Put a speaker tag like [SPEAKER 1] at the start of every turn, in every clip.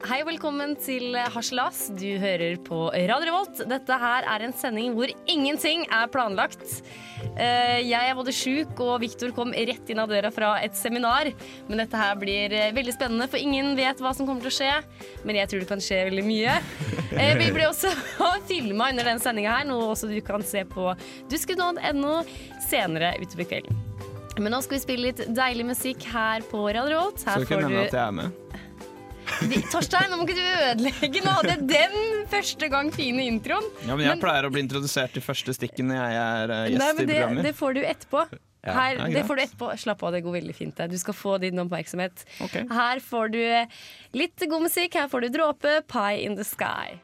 [SPEAKER 1] Hei og velkommen til Harselas. Du hører på Radio Revolt. Dette her er en sending hvor ingenting er planlagt. Eh, Jeg er både sjuk, og Viktor kom rett inn av døra fra et seminar. Men dette her blir eh, veldig spennende, for ingen vet hva som kommer til å skje. Men jeg tror det kan skje veldig mye. Eh, Vi ble også filma under den sendinga her, noe også du kan se på duskenod.no senere utover kvelden. Men nå skal vi spille litt deilig musikk her på Radio Revolt.
[SPEAKER 2] Så
[SPEAKER 1] Her
[SPEAKER 2] dere
[SPEAKER 1] får
[SPEAKER 2] mener
[SPEAKER 1] du
[SPEAKER 2] at jeg er med?
[SPEAKER 1] vi- Torstein, nå må ikke du ødelegge nå. Det er den første gang fine introen.
[SPEAKER 2] Ja, men jeg
[SPEAKER 1] Men-
[SPEAKER 2] pleier å bli introdusert de første stikkene når jeg er eh, gjest
[SPEAKER 1] Nei, men
[SPEAKER 2] i
[SPEAKER 1] det,
[SPEAKER 2] programmet.
[SPEAKER 1] det får du etterpå. Her,
[SPEAKER 2] ja,
[SPEAKER 1] det
[SPEAKER 2] greit.
[SPEAKER 1] får du etterpå. Slapp av, det går veldig fint. det. Du skal få din oppmerksomhet.
[SPEAKER 2] Ok.
[SPEAKER 1] Her får du eh, litt god musikk. Her får du 'Dråpe', 'Pie in the Sky'.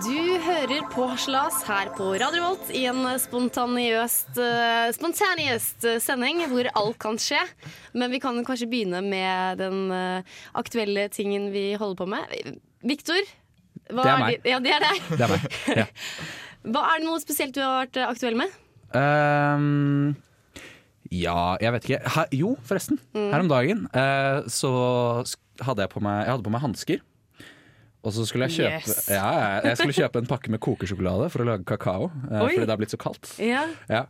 [SPEAKER 1] Du hører på Harselas her på Radio Volt i en spontaniøst, eh, spontaneøst eh, sending hvor alt kan skje. Men vi kan kanskje begynne med den eh, aktuelle tingen vi holder på med. Viktor? hva
[SPEAKER 3] Det er meg.
[SPEAKER 1] di- Ja, det er deg.
[SPEAKER 3] Det er meg. Ja.
[SPEAKER 1] Hva Er det noe spesielt du har vært eh, aktuell med?
[SPEAKER 3] Ehm, ja, jeg vet ikke. Her, jo, forresten.
[SPEAKER 1] Mm.
[SPEAKER 3] Her om dagen eh, så sk- hadde jeg på meg, jeg hadde på meg hansker. Og så skulle jeg kjøpe
[SPEAKER 1] Yes.
[SPEAKER 3] ja, ja, Jeg skulle kjøpe en pakke med kokesjokolade for å lage kakao. eh,
[SPEAKER 1] Oi.
[SPEAKER 3] fordi det har blitt så kaldt.
[SPEAKER 1] Ja.
[SPEAKER 3] Ja.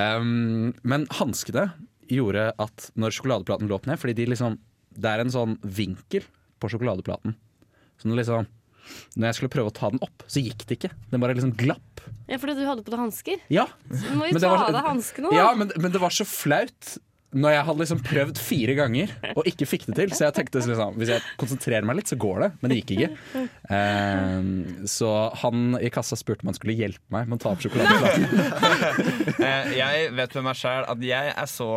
[SPEAKER 3] Ehm, men hanskene gjorde at når sjokoladeplaten lå opp ned Fordi de liksom, det er en sånn vinkel på sjokoladeplaten. Så når, liksom, når jeg skulle prøve å ta den opp, så gikk det ikke. Den bare liksom glapp.
[SPEAKER 1] Fordi du hadde på deg hansker.
[SPEAKER 3] Ja,
[SPEAKER 1] Du må
[SPEAKER 3] Men
[SPEAKER 1] jo
[SPEAKER 3] det
[SPEAKER 1] ta
[SPEAKER 3] var-
[SPEAKER 1] av deg hanskene, da.
[SPEAKER 3] ja men, men det var så flaut når jeg hadde liksom prøvd fire ganger og ikke fikk det til. Så jeg tenkte liksom, hvis jeg konsentrerer meg litt, så går det. Men det gikk ikke. Ehm, så han i kassa spurte om han skulle hjelpe meg med å ta opp sjokoladeplaten.
[SPEAKER 4] Eh, jeg vet med meg sjæl at jeg er så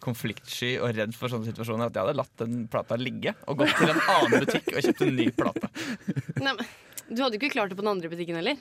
[SPEAKER 4] konfliktsky og redd for sånne situasjoner at jeg hadde latt den plata ligge og gått til en annen butikk og kjøpt en ny plate.
[SPEAKER 1] Nei, men du hadde jo ikke klart det på den andre butikken heller.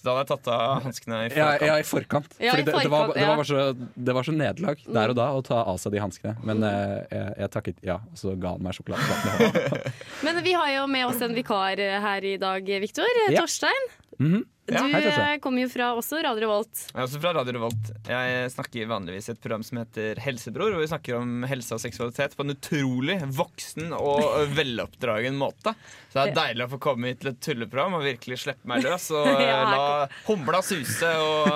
[SPEAKER 4] Så da hadde jeg tatt av hanskene i
[SPEAKER 3] Ja,
[SPEAKER 4] forkant.
[SPEAKER 3] ja, i forkant.
[SPEAKER 1] Ja, i
[SPEAKER 3] Fordi det, det, var,
[SPEAKER 1] forkant,
[SPEAKER 3] det,
[SPEAKER 1] ja.
[SPEAKER 3] var bare så, det var så nederlag der og da å ta av seg de hanskene.
[SPEAKER 1] Mm.
[SPEAKER 3] Men eh, jeg, jeg takket ja, og så ga han meg sjokoladeplaten. i hånda.
[SPEAKER 1] Men vi har jo med oss en vikar eh, her i dag, Viktor. Eh,
[SPEAKER 3] Ja.
[SPEAKER 1] Torstein.
[SPEAKER 3] Mhm.
[SPEAKER 4] Ja,
[SPEAKER 1] Du
[SPEAKER 3] hei, Torstein.
[SPEAKER 1] eh, kommer jo fra også Radio Revolt.
[SPEAKER 4] Jeg er også fra Radio Revolt. Jeg snakker vanligvis i et program som heter Helsebror, hvor vi snakker om helse og seksualitet på en utrolig voksen og veloppdragen måte. Så det er deilig å få komme hit til et tulleprogram og virkelig slippe meg løs og eh,
[SPEAKER 1] Ja,
[SPEAKER 4] la humla suse og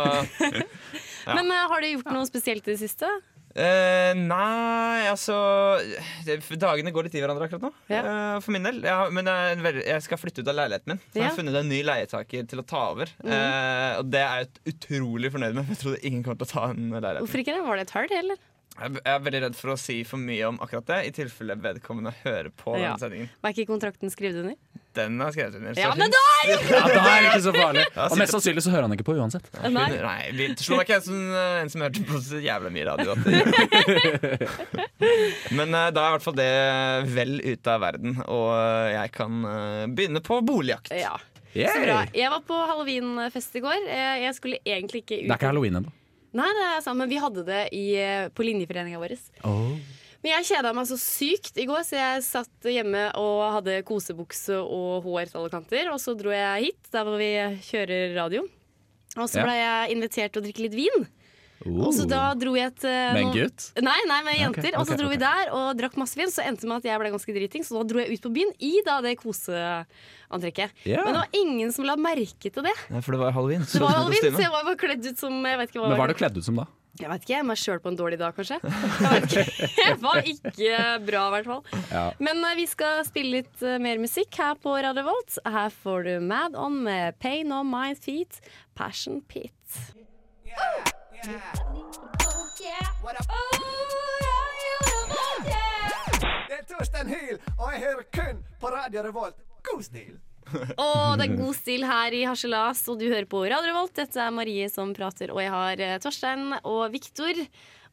[SPEAKER 4] Ja.
[SPEAKER 1] Men eh, har du gjort noe spesielt i det siste?
[SPEAKER 4] Eh, nei, altså det, Dagene går litt i hverandre akkurat nå.
[SPEAKER 1] Ja.
[SPEAKER 4] eh, for min del. Ja, men jeg, er en veldig- jeg skal flytte ut av leiligheten min. Så jeg
[SPEAKER 1] Ja. Mm.
[SPEAKER 4] har funnet en ny leietaker til å ta over. Eh, og det er jeg ut- utrolig fornøyd med. for Jeg trodde ingen kom til å ta den leiligheten.
[SPEAKER 1] Hvorfor ikke det? Var det et hull, eller?
[SPEAKER 4] Jeg er- jeg er veldig redd for å si for mye om akkurat det, i tilfelle vedkommende hører på
[SPEAKER 1] Ja.
[SPEAKER 4] den sendingen.
[SPEAKER 1] Var ikke kontrakten skrevet under?
[SPEAKER 4] Den har jeg skrevet under. så
[SPEAKER 1] Ja,
[SPEAKER 4] hun-
[SPEAKER 1] men da er det
[SPEAKER 3] Ja, det er ikke så farlig.
[SPEAKER 4] Ja,
[SPEAKER 3] Og mest sannsynlig så hører han ikke på uansett.
[SPEAKER 1] jo
[SPEAKER 4] hun,
[SPEAKER 1] Nei.
[SPEAKER 4] nei, det slo meg ikke en som, eh, en som hørte på så jævla mye radio. At det gjør det. Men eh, da er i hvert fall det vel ute av verden, og eh, jeg kan eh, begynne på boligjakt.
[SPEAKER 1] Ja. Så bra. Jeg var på halloweenfest i går. Eh, Jeg skulle egentlig ikke ut.
[SPEAKER 3] Det er ikke halloween ennå.
[SPEAKER 1] Nei, det er sant, men vi hadde det i, eh, på linjeforeninga vår. Men jeg kjeda meg så sykt i går, så jeg satt hjemme og hadde kosebukse og hår til alle kanter. Og så dro jeg hit, der hvor vi kjører radio. Og så
[SPEAKER 3] Ja. Oh.
[SPEAKER 1] ble jeg invitert til å drikke litt vin. Og så da dro jeg til
[SPEAKER 3] Med en
[SPEAKER 1] noen-
[SPEAKER 3] gutt?
[SPEAKER 1] Nei, nei, med
[SPEAKER 3] Ja, ok,
[SPEAKER 1] jenter. Og så
[SPEAKER 3] ok,
[SPEAKER 1] dro vi
[SPEAKER 3] ok.
[SPEAKER 1] der og drakk masse vin. Så endte det med at jeg ble ganske driting, så da dro jeg ut på byen i da det koseantrekket.
[SPEAKER 3] Ja.
[SPEAKER 1] Men det var ingen som la merke til det.
[SPEAKER 4] Nei, for det var halloween.
[SPEAKER 1] Det var Alvin, så jeg var bare kledd ut som jeg vet ikke hva.
[SPEAKER 3] Men hva er du kledd ut som da?
[SPEAKER 1] Jeg vet ikke, meg sjøl på en dårlig dag, kanskje. Jeg vet ikke. Det var ikke bra, i hvert fall.
[SPEAKER 3] Ja.
[SPEAKER 1] Men eh, vi skal spille litt eh, mer musikk her på Radio Volt. Her får du Mad On med Pain On My Feet, Passion Pit.
[SPEAKER 5] Det er Torstein Hyl, og jeg hører kun på Radio Revolt. God stil!
[SPEAKER 1] Å, det er god stil her i Harselas, og du hører på Radio Revolt. Dette er Marie som prater, og jeg har eh, Torstein og Viktor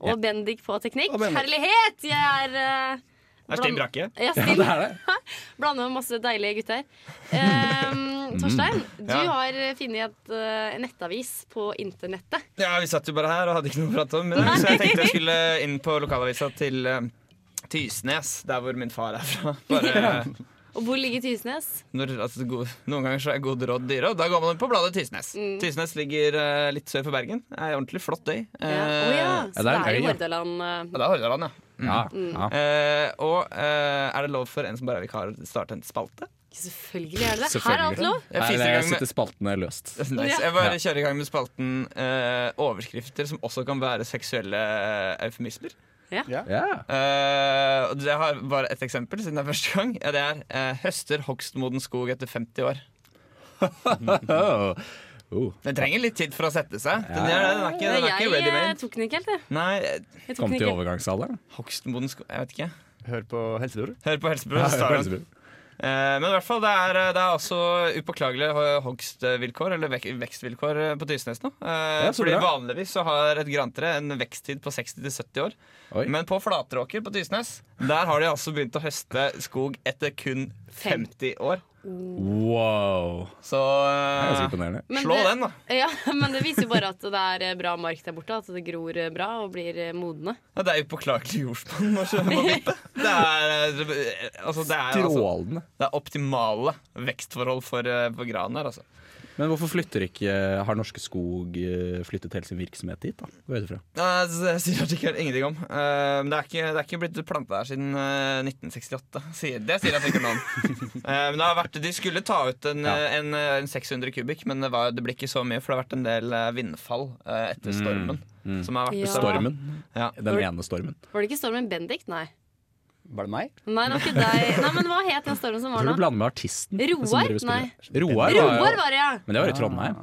[SPEAKER 1] og Bendik på teknikk. Herlighet! Jeg er eh,
[SPEAKER 4] Det er Stim Brakke.
[SPEAKER 1] Jeg er
[SPEAKER 3] Ja,
[SPEAKER 1] stille.
[SPEAKER 3] det er det.
[SPEAKER 1] Blander med masse deilige gutter. Ehm,
[SPEAKER 3] Mm.
[SPEAKER 1] Torstein, du
[SPEAKER 4] Ja.
[SPEAKER 1] har funnet et eh, nettavis på internettet.
[SPEAKER 4] Ja, vi satt jo bare her og hadde ikke noe å prate om. Men, så jeg tenkte jeg skulle inn på lokalavisa til eh, Tysnes, der hvor min far er fra. Bare eh,
[SPEAKER 1] Og hvor ligger Tysnes?
[SPEAKER 4] Når, altså, god, noen ganger så er gode råd dyre, og da går man på bladet Tysnes.
[SPEAKER 1] Mm.
[SPEAKER 4] Tysnes ligger eh, litt sør for Bergen. Er en ordentlig flott øy.
[SPEAKER 1] Å ja. Å ja.
[SPEAKER 4] Eh,
[SPEAKER 1] Så
[SPEAKER 3] det
[SPEAKER 1] det
[SPEAKER 3] er en
[SPEAKER 1] er
[SPEAKER 3] øy,
[SPEAKER 1] jo
[SPEAKER 3] ja.
[SPEAKER 1] Hordaland. eh,
[SPEAKER 4] ja, det er Hordaland, ja.
[SPEAKER 1] Mm.
[SPEAKER 3] Ja, ja.
[SPEAKER 4] Eh, og eh, er det lov for en som bare er vikar, å starte en spalte?
[SPEAKER 1] Selvfølgelig er det det. Her er alt
[SPEAKER 3] Selvfølgelig.
[SPEAKER 1] lov.
[SPEAKER 4] Jeg
[SPEAKER 3] Nei,
[SPEAKER 4] fiser i gang
[SPEAKER 3] jeg
[SPEAKER 4] med-
[SPEAKER 3] sitter spaltene løst.
[SPEAKER 4] Nice. Jeg bare kjører i gang med spalten eh, overskrifter som også kan være seksuelle eh, eufemismer.
[SPEAKER 3] Ja.
[SPEAKER 4] Eh, og jeg har bare et eksempel, siden det er første gang. Ja, det er eh, 'Høster hogstmoden skog etter 50 år'.
[SPEAKER 3] Oh. Oh.
[SPEAKER 4] Den trenger litt tid for å sette seg. Den, gjør det, den er ikke, den er ikke
[SPEAKER 1] Jeg
[SPEAKER 4] ready
[SPEAKER 1] eh,
[SPEAKER 4] made.
[SPEAKER 1] tok den ikke helt, jeg.
[SPEAKER 4] Nei, eh,
[SPEAKER 1] jeg tok
[SPEAKER 3] Kom
[SPEAKER 1] den
[SPEAKER 3] til
[SPEAKER 1] ikke.
[SPEAKER 3] overgangsalderen.
[SPEAKER 4] hogstmoden skog Jeg vet ikke.
[SPEAKER 5] Hør på helsebror.
[SPEAKER 4] Hør på helsebror. så tar den. Eh, men i hvert fall, det er, det er også upåklagelige ho- hogstvilkår, eller vek vekstvilkår, eh, på Tysnes nå. Eh,
[SPEAKER 3] Ja, så
[SPEAKER 4] fordi
[SPEAKER 3] bra.
[SPEAKER 4] vanligvis så har et grantre en veksttid på 60 til 70 år.
[SPEAKER 3] Oi.
[SPEAKER 4] Men på Flatråker på Tysnes, der har de altså begynt å høste skog etter kun 50 år.
[SPEAKER 3] Wow.
[SPEAKER 4] Så
[SPEAKER 3] Det er
[SPEAKER 4] eh,
[SPEAKER 3] ganske imponerende.
[SPEAKER 1] Men
[SPEAKER 4] slå
[SPEAKER 1] det-
[SPEAKER 4] den, da.
[SPEAKER 1] Ja, men det viser jo bare at det er eh, bra mark der borte. At det gror eh, bra og blir eh, modne.
[SPEAKER 4] Ja, det er upåklagelig jordsmonn å kjøpe på vippe. Det er, eh, altså, det er, altså,
[SPEAKER 3] Strålende.
[SPEAKER 4] det er optimale vekstforhold for, eh, for gran her, altså.
[SPEAKER 3] Men hvorfor flytter ikke Har Norske Skog eh, flyttet hele sin virksomhet dit, da? Hvor er det fra?
[SPEAKER 4] Nei, Det sier artikkelen ingenting om. Eh, men det er, ikke, det er ikke blitt planta der siden eh, 1968. Sier, det sier artikkelen om. Eh, men det har vært, de skulle ta ut en,
[SPEAKER 3] Ja.
[SPEAKER 4] eh, en, eh, en 600 kubikk, men det, var, det ble ikke så mye, for det har vært en del eh, vindfall eh, etter
[SPEAKER 3] Mm,
[SPEAKER 4] stormen. Som har vært
[SPEAKER 1] Ja.
[SPEAKER 3] Stormen.
[SPEAKER 4] Ja.
[SPEAKER 3] Den ene stormen.
[SPEAKER 1] Var det ikke stormen Bendik? Nei.
[SPEAKER 5] Var det meg?
[SPEAKER 1] Nei, det var ikke deg. Nei, men hva het den stormen som
[SPEAKER 3] Jeg
[SPEAKER 1] var
[SPEAKER 3] tror du
[SPEAKER 1] nå?
[SPEAKER 3] blander med artisten.
[SPEAKER 1] Roar?
[SPEAKER 3] som driver og spiller. Roar, var jo-
[SPEAKER 1] Roar var det, ja!
[SPEAKER 3] Men det var i Trondheim.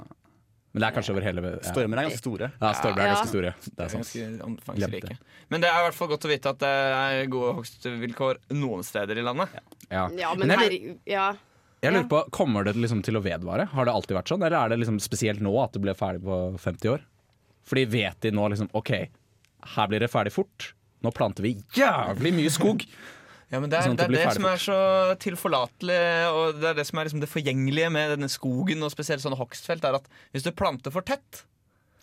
[SPEAKER 3] Men det er kanskje over hele ja.
[SPEAKER 5] Stormer er ganske store.
[SPEAKER 3] Ja, stormer er
[SPEAKER 1] Ja.
[SPEAKER 3] ganske store. Det er sant.
[SPEAKER 4] Ganske omfangsrike.
[SPEAKER 3] Glemte.
[SPEAKER 4] Men det er i hvert fall godt å vite at det er gode hogstvilkår noen steder i landet.
[SPEAKER 3] Ja.
[SPEAKER 1] Ja, men
[SPEAKER 3] Men jeg,
[SPEAKER 1] herregud. Ja.
[SPEAKER 3] lurer- jeg lurer på, Kommer det liksom til å vedvare? Har det alltid vært sånn, eller er det liksom spesielt nå at det ble ferdig på 50 år? Fordi vet de nå liksom OK, her blir det ferdig fort. Nå planter vi jævlig mye skog!
[SPEAKER 4] Ja, men Det er
[SPEAKER 3] Sånn at
[SPEAKER 4] det, er
[SPEAKER 3] det blir
[SPEAKER 4] det
[SPEAKER 3] ferdig
[SPEAKER 4] som er så tilforlatelig, og det er det som er liksom det forgjengelige med denne skogen og spesielt sånne hogstfelt, er at hvis du planter for tett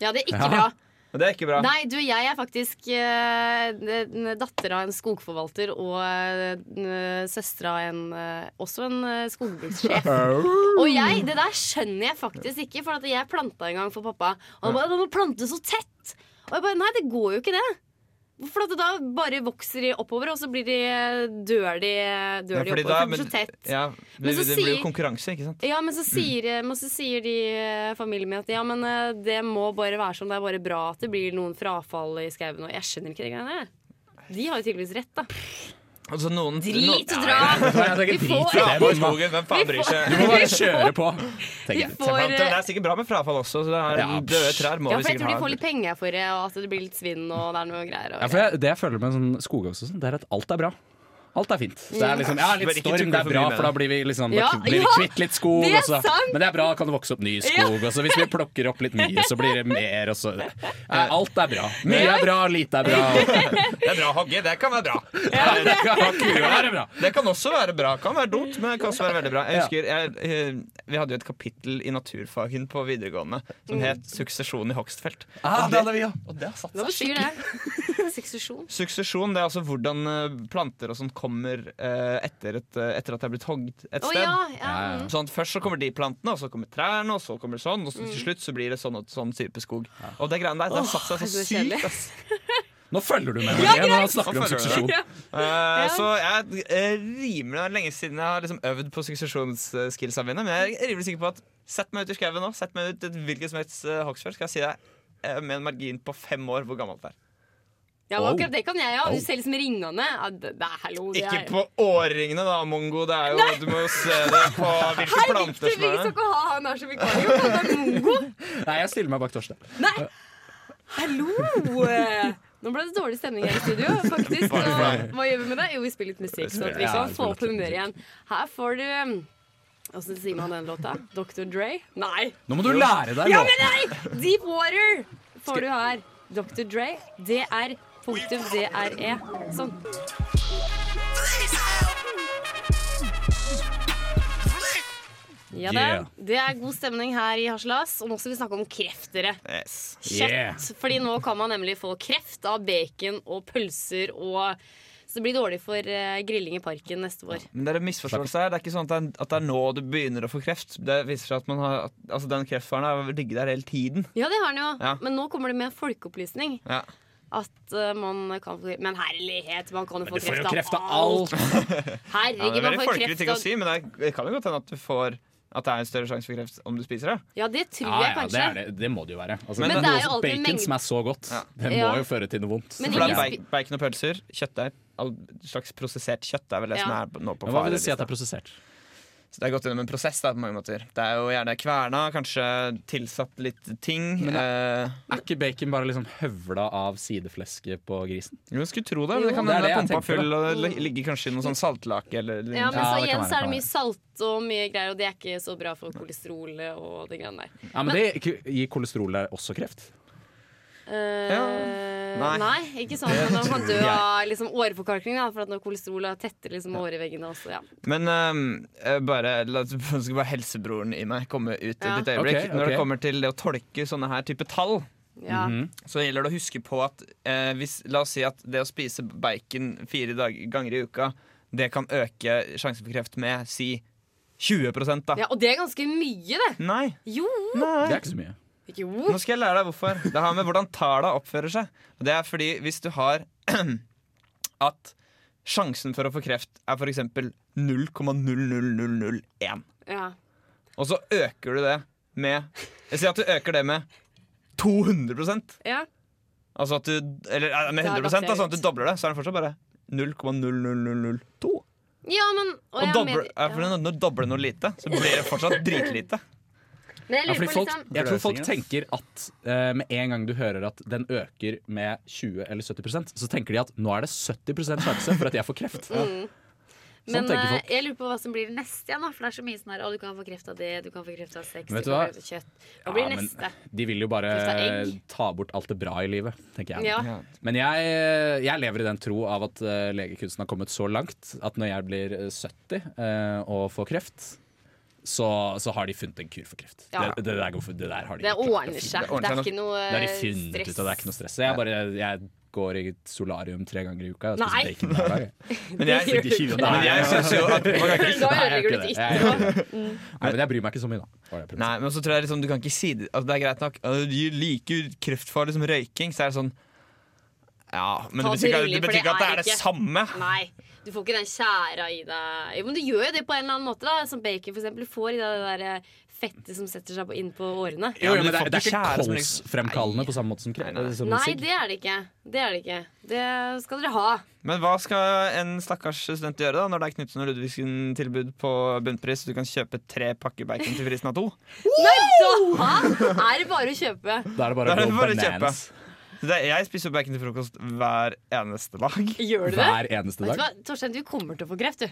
[SPEAKER 1] ja, det er ikke
[SPEAKER 3] Ja.
[SPEAKER 1] bra.
[SPEAKER 4] Og det er ikke bra.
[SPEAKER 1] Nei, du, jeg er faktisk uh, datter av en skogforvalter og uh, søster av en eh, også en eh, skogbrukssjef. Og jeg, det der skjønner jeg faktisk ikke, for at jeg planta en gang for pappa. Og han bare 'Du må plante så tett'. Og jeg bare Nei, det går jo ikke det. For at da bare vokser de oppover, og så blir de dør de, dør de
[SPEAKER 4] fordi
[SPEAKER 1] oppover.
[SPEAKER 4] da-
[SPEAKER 1] for det blir så tett.
[SPEAKER 4] Ja,
[SPEAKER 1] Men
[SPEAKER 4] det,
[SPEAKER 1] så
[SPEAKER 4] det blir jo
[SPEAKER 1] sier-
[SPEAKER 4] konkurranse, ikke sant?
[SPEAKER 1] Ja, men så sier, men så sier de eh, familien min at ja, men eh, det må bare være sånn. Det er bare bra at det blir noen frafall i skauen. Og jeg skjønner ikke de greiene der. De har jo tydeligvis rett, da.
[SPEAKER 4] Altså, noen,
[SPEAKER 1] Drit og
[SPEAKER 4] noen,
[SPEAKER 1] dra!
[SPEAKER 3] tenker
[SPEAKER 1] Vi
[SPEAKER 3] drit
[SPEAKER 1] får,
[SPEAKER 3] i det.
[SPEAKER 4] Ja, på skogen, hvem faen bryr seg?
[SPEAKER 3] Du må bare kjøre på!
[SPEAKER 1] vi
[SPEAKER 3] tenker jeg.
[SPEAKER 1] får
[SPEAKER 4] Men Det
[SPEAKER 1] eh,
[SPEAKER 4] er sikkert bra med frafall også, så det er
[SPEAKER 3] Ja,
[SPEAKER 4] døde trær må
[SPEAKER 1] ja,
[SPEAKER 4] vi
[SPEAKER 1] for jeg tror de
[SPEAKER 4] sikkert
[SPEAKER 1] får
[SPEAKER 4] ha.
[SPEAKER 1] litt penger for det, og at det blir litt svinn og det er noe greier.
[SPEAKER 3] Ja,
[SPEAKER 1] Og,
[SPEAKER 3] for jeg, det jeg føler med sånn skoghogs og sånn, det er at alt er bra. Alt er fint. Det er liksom, ja,
[SPEAKER 4] Bare
[SPEAKER 3] litt
[SPEAKER 4] ikke
[SPEAKER 3] storm,
[SPEAKER 4] tukle
[SPEAKER 3] det er
[SPEAKER 4] for
[SPEAKER 3] bra,
[SPEAKER 4] mye med
[SPEAKER 3] for da blir vi liksom da
[SPEAKER 1] Ja,
[SPEAKER 3] blir vi
[SPEAKER 1] ja,
[SPEAKER 3] kvitt litt skog.
[SPEAKER 1] det er
[SPEAKER 3] og så-
[SPEAKER 1] sant.
[SPEAKER 3] Men det er bra, kan det vokse opp ny skog. Og så hvis vi plukker opp litt mye, så blir det mer. Og så. Nei, alt er bra. Mye er bra, lite er bra.
[SPEAKER 4] Det er bra å hogge, det kan være bra.
[SPEAKER 3] Kua er bra.
[SPEAKER 4] Det kan også være bra. Kan være dumt, men det kan også være veldig bra. Jeg husker, jeg, eh, Vi hadde jo et kapittel i naturfagen på videregående som
[SPEAKER 1] Mm.
[SPEAKER 4] het 'Suksesjon i hogstfelt'.
[SPEAKER 3] Ah, det hadde vi, ja.
[SPEAKER 4] Og det har satt
[SPEAKER 1] Hva
[SPEAKER 4] seg.
[SPEAKER 1] betyr det? Suksesjon?
[SPEAKER 4] Suksesjon det er altså hvordan eh, planter og sånt kommer eh, etter, et, eh, etter at det er blitt hogd et
[SPEAKER 1] Å
[SPEAKER 4] sted.
[SPEAKER 1] ja. ja.
[SPEAKER 3] Ja, ja.
[SPEAKER 1] mm.
[SPEAKER 4] Sånn at Først så kommer de plantene, og så kommer trærne, og så kommer sånn. Og så til slutt så blir det sånn og sånn type skog. Og det greiene der, det har satt
[SPEAKER 1] Åh,
[SPEAKER 4] seg så
[SPEAKER 1] det er så kjedelig.
[SPEAKER 4] sykt. ass.
[SPEAKER 3] Nå følger du med. Marie, Nå snakker vi om
[SPEAKER 4] Nå følger du
[SPEAKER 3] suksesjon.
[SPEAKER 1] Ja.
[SPEAKER 4] Eh, Så jeg er rimelig det er lenge siden jeg har liksom øvd på suksesjonsskillsa mine. Men jeg er rimelig sikker på at sett meg ut i skauen nå, sett meg ut i et hvilket som helst eh, hogstfelt, skal jeg si deg eh, med en margin på fem år hvor gammelt det er.
[SPEAKER 1] ja, men akkurat det kan jeg, ja.
[SPEAKER 3] Au.
[SPEAKER 1] Selv som ringene. Ja, det, det er hallo, det
[SPEAKER 4] Ikke
[SPEAKER 1] er
[SPEAKER 4] på årringene, da, mongo. Det er jo, du må jo se det på hvilke
[SPEAKER 1] Hei, Victor,
[SPEAKER 4] planter
[SPEAKER 1] vi
[SPEAKER 4] som er
[SPEAKER 1] skal
[SPEAKER 4] der.
[SPEAKER 1] ikke ha han her som vikar. Jo, han er mongo.
[SPEAKER 3] Nei, jeg stiller meg bak Torstein.
[SPEAKER 1] Nei, hallo! Nå ble det dårlig stemning her i studio. faktisk
[SPEAKER 4] Bare
[SPEAKER 1] Og
[SPEAKER 4] for deg.
[SPEAKER 1] hva gjør vi med det? Jo, vi spiller litt musikk, sånn at vi
[SPEAKER 3] Ja,
[SPEAKER 1] kan
[SPEAKER 3] vi
[SPEAKER 1] få
[SPEAKER 3] spiller
[SPEAKER 1] opp humøret
[SPEAKER 3] litt
[SPEAKER 1] igjen. Her får du Åssen sier man den låta? Dr. Dre? Nei!
[SPEAKER 3] Nå må du lære deg
[SPEAKER 1] Ja,
[SPEAKER 3] låten.
[SPEAKER 1] men nei! Deep Water får du her. Dr. Dre. Det er punktum DRE. Sånn. Ja da.
[SPEAKER 3] Yeah.
[SPEAKER 1] Det er god stemning her i Harselas. Og nå skal vi snakke om kreft, dere.
[SPEAKER 4] Yes.
[SPEAKER 1] Kjøtt.
[SPEAKER 3] Yeah.
[SPEAKER 1] Fordi nå kan man nemlig få kreft av bacon og pølser og Det blir dårlig for eh, grilling i parken neste vår.
[SPEAKER 4] Men det er en misforståelse her. Det er ikke sånn at det er, at det er nå du begynner å få kreft. Det viser seg at, man har, at altså, den kreftfaren har ligget der hele tiden.
[SPEAKER 1] Ja, det har han jo,
[SPEAKER 4] Ja.
[SPEAKER 1] men nå kommer det med folkeopplysning.
[SPEAKER 4] Ja.
[SPEAKER 1] At eh, man kan få Men herlighet, man kan jo få kreft, av alt!
[SPEAKER 3] alt!
[SPEAKER 4] Ja, det
[SPEAKER 1] Herregud,
[SPEAKER 4] er
[SPEAKER 1] man
[SPEAKER 4] veldig
[SPEAKER 1] får
[SPEAKER 4] folkelig
[SPEAKER 1] kreft
[SPEAKER 4] ting å
[SPEAKER 1] av
[SPEAKER 4] si, men det, er, det kan jo godt hende at du får At det er en større sjanse for kreft om du spiser det.
[SPEAKER 1] Ja, det tror jeg
[SPEAKER 5] Ja, ja, det,
[SPEAKER 1] kanskje.
[SPEAKER 5] er det. det må det jo være. Altså,
[SPEAKER 4] Men
[SPEAKER 5] noe
[SPEAKER 4] det
[SPEAKER 1] er jo
[SPEAKER 5] som
[SPEAKER 1] alltid en
[SPEAKER 5] bacon
[SPEAKER 1] mengde-
[SPEAKER 5] som er så godt,
[SPEAKER 4] Ja.
[SPEAKER 5] det må
[SPEAKER 1] Ja.
[SPEAKER 5] jo føre til noe vondt.
[SPEAKER 1] Men
[SPEAKER 4] For det er
[SPEAKER 1] ingen
[SPEAKER 4] ba- bacon og pølser, kjøttdeig, all slags prosessert kjøtt er vel det
[SPEAKER 1] Ja.
[SPEAKER 4] som er nå på
[SPEAKER 5] Men hva vil du
[SPEAKER 4] farelista.
[SPEAKER 5] si at det er prosessert?
[SPEAKER 4] Så det er gått gjennom en prosess da, på mange måter. Det er jo gjerne kverna, kanskje tilsatt litt ting. eh,
[SPEAKER 3] Er ikke bacon bare liksom høvla av sideflesket på grisen?
[SPEAKER 4] jo, jeg skulle tro det, men
[SPEAKER 1] Jo. Mm.
[SPEAKER 4] det kan hende
[SPEAKER 3] Det er
[SPEAKER 4] det er
[SPEAKER 3] det jeg
[SPEAKER 4] pumpa
[SPEAKER 3] tenker,
[SPEAKER 4] full, og det li- ligger kanskje i noe sånn saltlake eller
[SPEAKER 1] Ja, men
[SPEAKER 3] Ja,
[SPEAKER 1] så
[SPEAKER 3] det kan
[SPEAKER 1] igjen så
[SPEAKER 3] være,
[SPEAKER 1] er
[SPEAKER 3] kan
[SPEAKER 1] det mye
[SPEAKER 3] være.
[SPEAKER 1] salt og mye greier, og det er ikke så bra for kolesterolet og det greiene der.
[SPEAKER 3] Ja, men det Gir kolesterol deg også kreft?
[SPEAKER 1] Eh,
[SPEAKER 4] Nei.
[SPEAKER 1] nei. ikke sånn at man kan dø av liksom, åreforkalkning, da, for at når kolesterolet tetter liksom, åreveggene også. Ja.
[SPEAKER 4] Men ehm, eh, bare, la oss- nå skal bare helsebroren i meg komme ut
[SPEAKER 1] Ja.
[SPEAKER 4] et lite øyeblikk.
[SPEAKER 3] Ok,
[SPEAKER 4] Når
[SPEAKER 3] ok.
[SPEAKER 4] det kommer til det å tolke sånne her type tall,
[SPEAKER 1] Ja.
[SPEAKER 3] Mhm.
[SPEAKER 4] så gjelder det å huske på at eh, hvis, La oss si at det å spise bacon fire dag, ganger i uka, det kan øke sjansen for kreft med si 20 da.
[SPEAKER 1] ja, Og det er ganske mye, det!
[SPEAKER 4] Nei,
[SPEAKER 1] Jo!
[SPEAKER 3] Det er ikke så mye.
[SPEAKER 1] Ikke jo.
[SPEAKER 4] nå skal jeg lære deg hvorfor. Det har med hvordan tala oppfører seg. Og Det er fordi hvis du har at sjansen for å få kreft er f.eks. 0,00001.
[SPEAKER 1] Ja.
[SPEAKER 4] Og så øker du det med Jeg sier at du øker det med 200
[SPEAKER 1] ja.
[SPEAKER 4] Altså at du Eller eh, med
[SPEAKER 1] Da er
[SPEAKER 4] 100
[SPEAKER 1] det
[SPEAKER 4] da, sånn at du
[SPEAKER 1] bakteriet.
[SPEAKER 4] dobler det, så er det fortsatt bare 0,00002.
[SPEAKER 1] Ja, men og
[SPEAKER 4] Og
[SPEAKER 1] jeg
[SPEAKER 4] dobler,
[SPEAKER 1] med-
[SPEAKER 4] ja, for når når du dobler noe lite, så blir det fortsatt dritlite.
[SPEAKER 1] Men jeg
[SPEAKER 3] Ja,
[SPEAKER 1] lurer
[SPEAKER 3] fordi
[SPEAKER 1] på
[SPEAKER 3] folk,
[SPEAKER 1] liksom
[SPEAKER 3] jeg tror folk
[SPEAKER 5] Bløsing,
[SPEAKER 3] tenker at eh, med en gang du hører at den øker med 20 eller 70 så tenker de at nå er det 70 sjanse for at jeg får kreft.
[SPEAKER 1] Mm.
[SPEAKER 3] Sånn
[SPEAKER 6] Men
[SPEAKER 3] tenker
[SPEAKER 6] eh,
[SPEAKER 3] folk.
[SPEAKER 6] jeg lurer på hva som blir det neste igjen, da. For det er så mye sånn her Å, du kan få kreft av det, du kan få kreft av sex,
[SPEAKER 3] Men vet
[SPEAKER 6] du
[SPEAKER 3] du hva?
[SPEAKER 6] kan få kreft av kjøtt. Hva blir
[SPEAKER 3] Ja, men
[SPEAKER 6] neste?
[SPEAKER 3] De vil jo bare
[SPEAKER 6] Kreft av egg.
[SPEAKER 3] ta bort alt det bra i livet, tenker jeg.
[SPEAKER 1] ja.
[SPEAKER 3] Men jeg, jeg lever i den tro av at eh, legekunsten har kommet så langt at når jeg blir eh, 70 eh, og får kreft, så, så har de funnet en kur for kreft.
[SPEAKER 1] Ja.
[SPEAKER 3] Det, det, der går, for- det der har de
[SPEAKER 1] Det
[SPEAKER 3] gjort.
[SPEAKER 1] ordner seg. Det er
[SPEAKER 4] ordner seg.
[SPEAKER 1] ikke noe
[SPEAKER 3] Det har de
[SPEAKER 1] eh,
[SPEAKER 3] funnet
[SPEAKER 1] stress.
[SPEAKER 3] ut, og det er ikke noe stress. Så jeg, bare, jeg går i et solarium tre ganger i uka. Jeg
[SPEAKER 1] Nei.
[SPEAKER 3] spiser bacon hver dag. jeg.
[SPEAKER 4] Men jeg,
[SPEAKER 1] Det gjør
[SPEAKER 4] men jeg synes jo at man kan ikke
[SPEAKER 1] Da
[SPEAKER 3] Nei, jeg gjør
[SPEAKER 1] ødelegger
[SPEAKER 3] ikke
[SPEAKER 1] du
[SPEAKER 3] det.
[SPEAKER 1] ditt Mm.
[SPEAKER 3] Jeg
[SPEAKER 1] ytre.
[SPEAKER 3] gjør ikke det. Nei, men jeg bryr meg ikke så mye, da. Var det jeg prøvde å si.
[SPEAKER 4] Nei, men så tror jeg liksom, du kan ikke si det altså, Det er greit nok. Ja, Det er like kreftfarlig som røyking, så er det sånn Ja, men
[SPEAKER 1] Ta det
[SPEAKER 4] det betyr ikke, at-
[SPEAKER 1] rolig,
[SPEAKER 4] det
[SPEAKER 1] for
[SPEAKER 4] betyr
[SPEAKER 1] det
[SPEAKER 4] ikke at det
[SPEAKER 1] er
[SPEAKER 4] er det
[SPEAKER 1] ikke-
[SPEAKER 4] samme.
[SPEAKER 1] Nei, du får ikke den tjæra i deg. Jo, men du gjør jo det på en eller annen måte, da. Som bacon for eksempel. Du får i deg det der eh, fettet som setter seg på, inn på årene.
[SPEAKER 3] Jo, jo,
[SPEAKER 4] men
[SPEAKER 3] men det,
[SPEAKER 4] folk
[SPEAKER 3] er- det er ikke
[SPEAKER 4] kjære som liksom-
[SPEAKER 3] kolsfremkallende på samme måte som kreft. Som
[SPEAKER 1] Nei,
[SPEAKER 3] sigg.
[SPEAKER 1] det er det ikke. Det er det ikke. Det skal dere ha.
[SPEAKER 4] Men hva skal en stakkars student gjøre da når det er Knutsen og Ludvigsen-tilbud på bunnpris? Du kan kjøpe tre pakker bacon til prisen av to.
[SPEAKER 1] Nei, da er det bare å kjøpe.
[SPEAKER 3] Da er det bare
[SPEAKER 4] Da er det
[SPEAKER 3] å gå
[SPEAKER 4] bare å
[SPEAKER 3] bananas
[SPEAKER 4] Så det, jeg spiser jo bacon til frokost hver eneste dag.
[SPEAKER 1] Gjør du det?
[SPEAKER 3] hver eneste
[SPEAKER 1] Vet du
[SPEAKER 3] dag.
[SPEAKER 1] hva, Torstein, du kommer til å få kreft, du.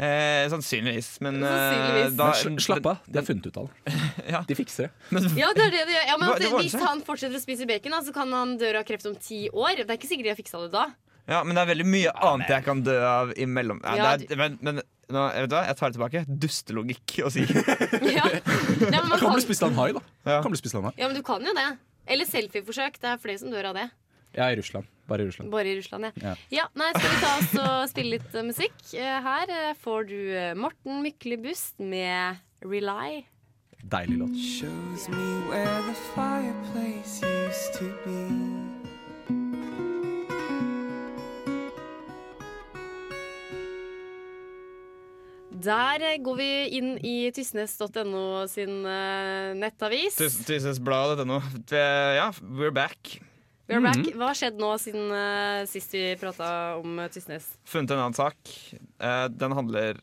[SPEAKER 4] Eh, sannsynligvis, men eh,
[SPEAKER 1] Sannsynligvis.
[SPEAKER 4] da-
[SPEAKER 3] Men sl- slapp av, de har funnet ut av det.
[SPEAKER 4] Ja.
[SPEAKER 3] De fikser det.
[SPEAKER 1] Ja, det er det du gjør. Ja, men
[SPEAKER 4] Hva-
[SPEAKER 1] at
[SPEAKER 4] det ordner
[SPEAKER 1] Hvis
[SPEAKER 4] seg.
[SPEAKER 1] han fortsetter å spise bacon, da, så kan han dø av kreft om ti år. Det er ikke sikkert de har fiksa det da.
[SPEAKER 4] Ja, men det er veldig mye annet jeg kan dø av imellom. Ja,
[SPEAKER 1] Ja,
[SPEAKER 4] det er, men men nå, vet du hva, jeg tar det tilbake. Dustelogikk å si.
[SPEAKER 1] Ja, Nei, men, man
[SPEAKER 3] Kan
[SPEAKER 1] kan,
[SPEAKER 3] bli spist av en hai, da.
[SPEAKER 4] Ja.
[SPEAKER 3] Kan bli spist av en hai.
[SPEAKER 1] ja, men du kan jo det. Eller selfieforsøk. Det er flere som dør av det.
[SPEAKER 3] Ja, i Russland. Bare i Russland.
[SPEAKER 1] Bare i Russland, ja.
[SPEAKER 3] Ja.
[SPEAKER 1] ja nei, skal vi ta oss og spille litt eh, musikk? Eh, Her eh, får du eh, Morten Myklebust med Rely.
[SPEAKER 3] Deilig låt.
[SPEAKER 7] Shows me where the fireplace used to be.
[SPEAKER 1] Der eh, går vi inn i tysnes.no sin eh, nettavis.
[SPEAKER 4] Tysnesbladet.no. Ja, we're back.
[SPEAKER 1] We are
[SPEAKER 4] Mhm.
[SPEAKER 1] back. Hva har skjedd nå siden eh, sist vi prata om eh, Tysnes?
[SPEAKER 4] Funnet en annen sak. Eh, den handler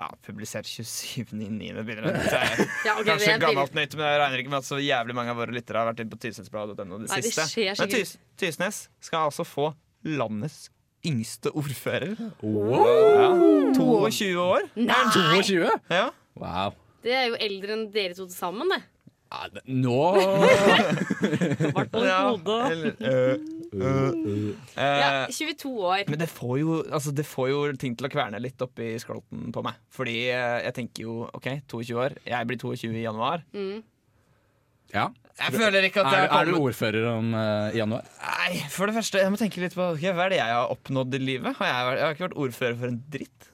[SPEAKER 4] ja, Publisert 27.9. begynner den. Så jeg-
[SPEAKER 1] Ja, ok,
[SPEAKER 4] Kanskje
[SPEAKER 1] det er
[SPEAKER 4] gammelt nytt, men jeg regner ikke med at så jævlig mange av våre lyttere har vært inne på Tysnesbladet.no det
[SPEAKER 1] Nei, det
[SPEAKER 4] siste.
[SPEAKER 1] skjer
[SPEAKER 4] Men
[SPEAKER 1] sikkert.
[SPEAKER 4] Tys Tysnes skal altså få landets yngste ordfører. Ja, 22 år.
[SPEAKER 1] Nei!
[SPEAKER 3] 22?
[SPEAKER 4] Ja.
[SPEAKER 3] Wow.
[SPEAKER 1] Det er jo eldre enn dere to til sammen, det.
[SPEAKER 3] Ja, det- Nå
[SPEAKER 4] ja. Eller, øh, øh.
[SPEAKER 1] Ja,
[SPEAKER 4] Eh,
[SPEAKER 1] 22 år.
[SPEAKER 4] men det får, jo, altså det får jo ting til å kverne litt oppi skrolten på meg. Fordi eh, jeg tenker jo OK, 22 år. Jeg blir 22 i januar.
[SPEAKER 3] Ja.
[SPEAKER 4] Jeg føler ikke at jeg
[SPEAKER 8] Mm. Er,
[SPEAKER 4] har
[SPEAKER 8] er du
[SPEAKER 4] kommet-
[SPEAKER 8] ordfører om, eh, i januar?
[SPEAKER 4] Nei, for det første, jeg må tenke litt på ok, hva er det jeg har oppnådd i livet. Har jeg, vært- jeg har ikke vært ordfører for en dritt.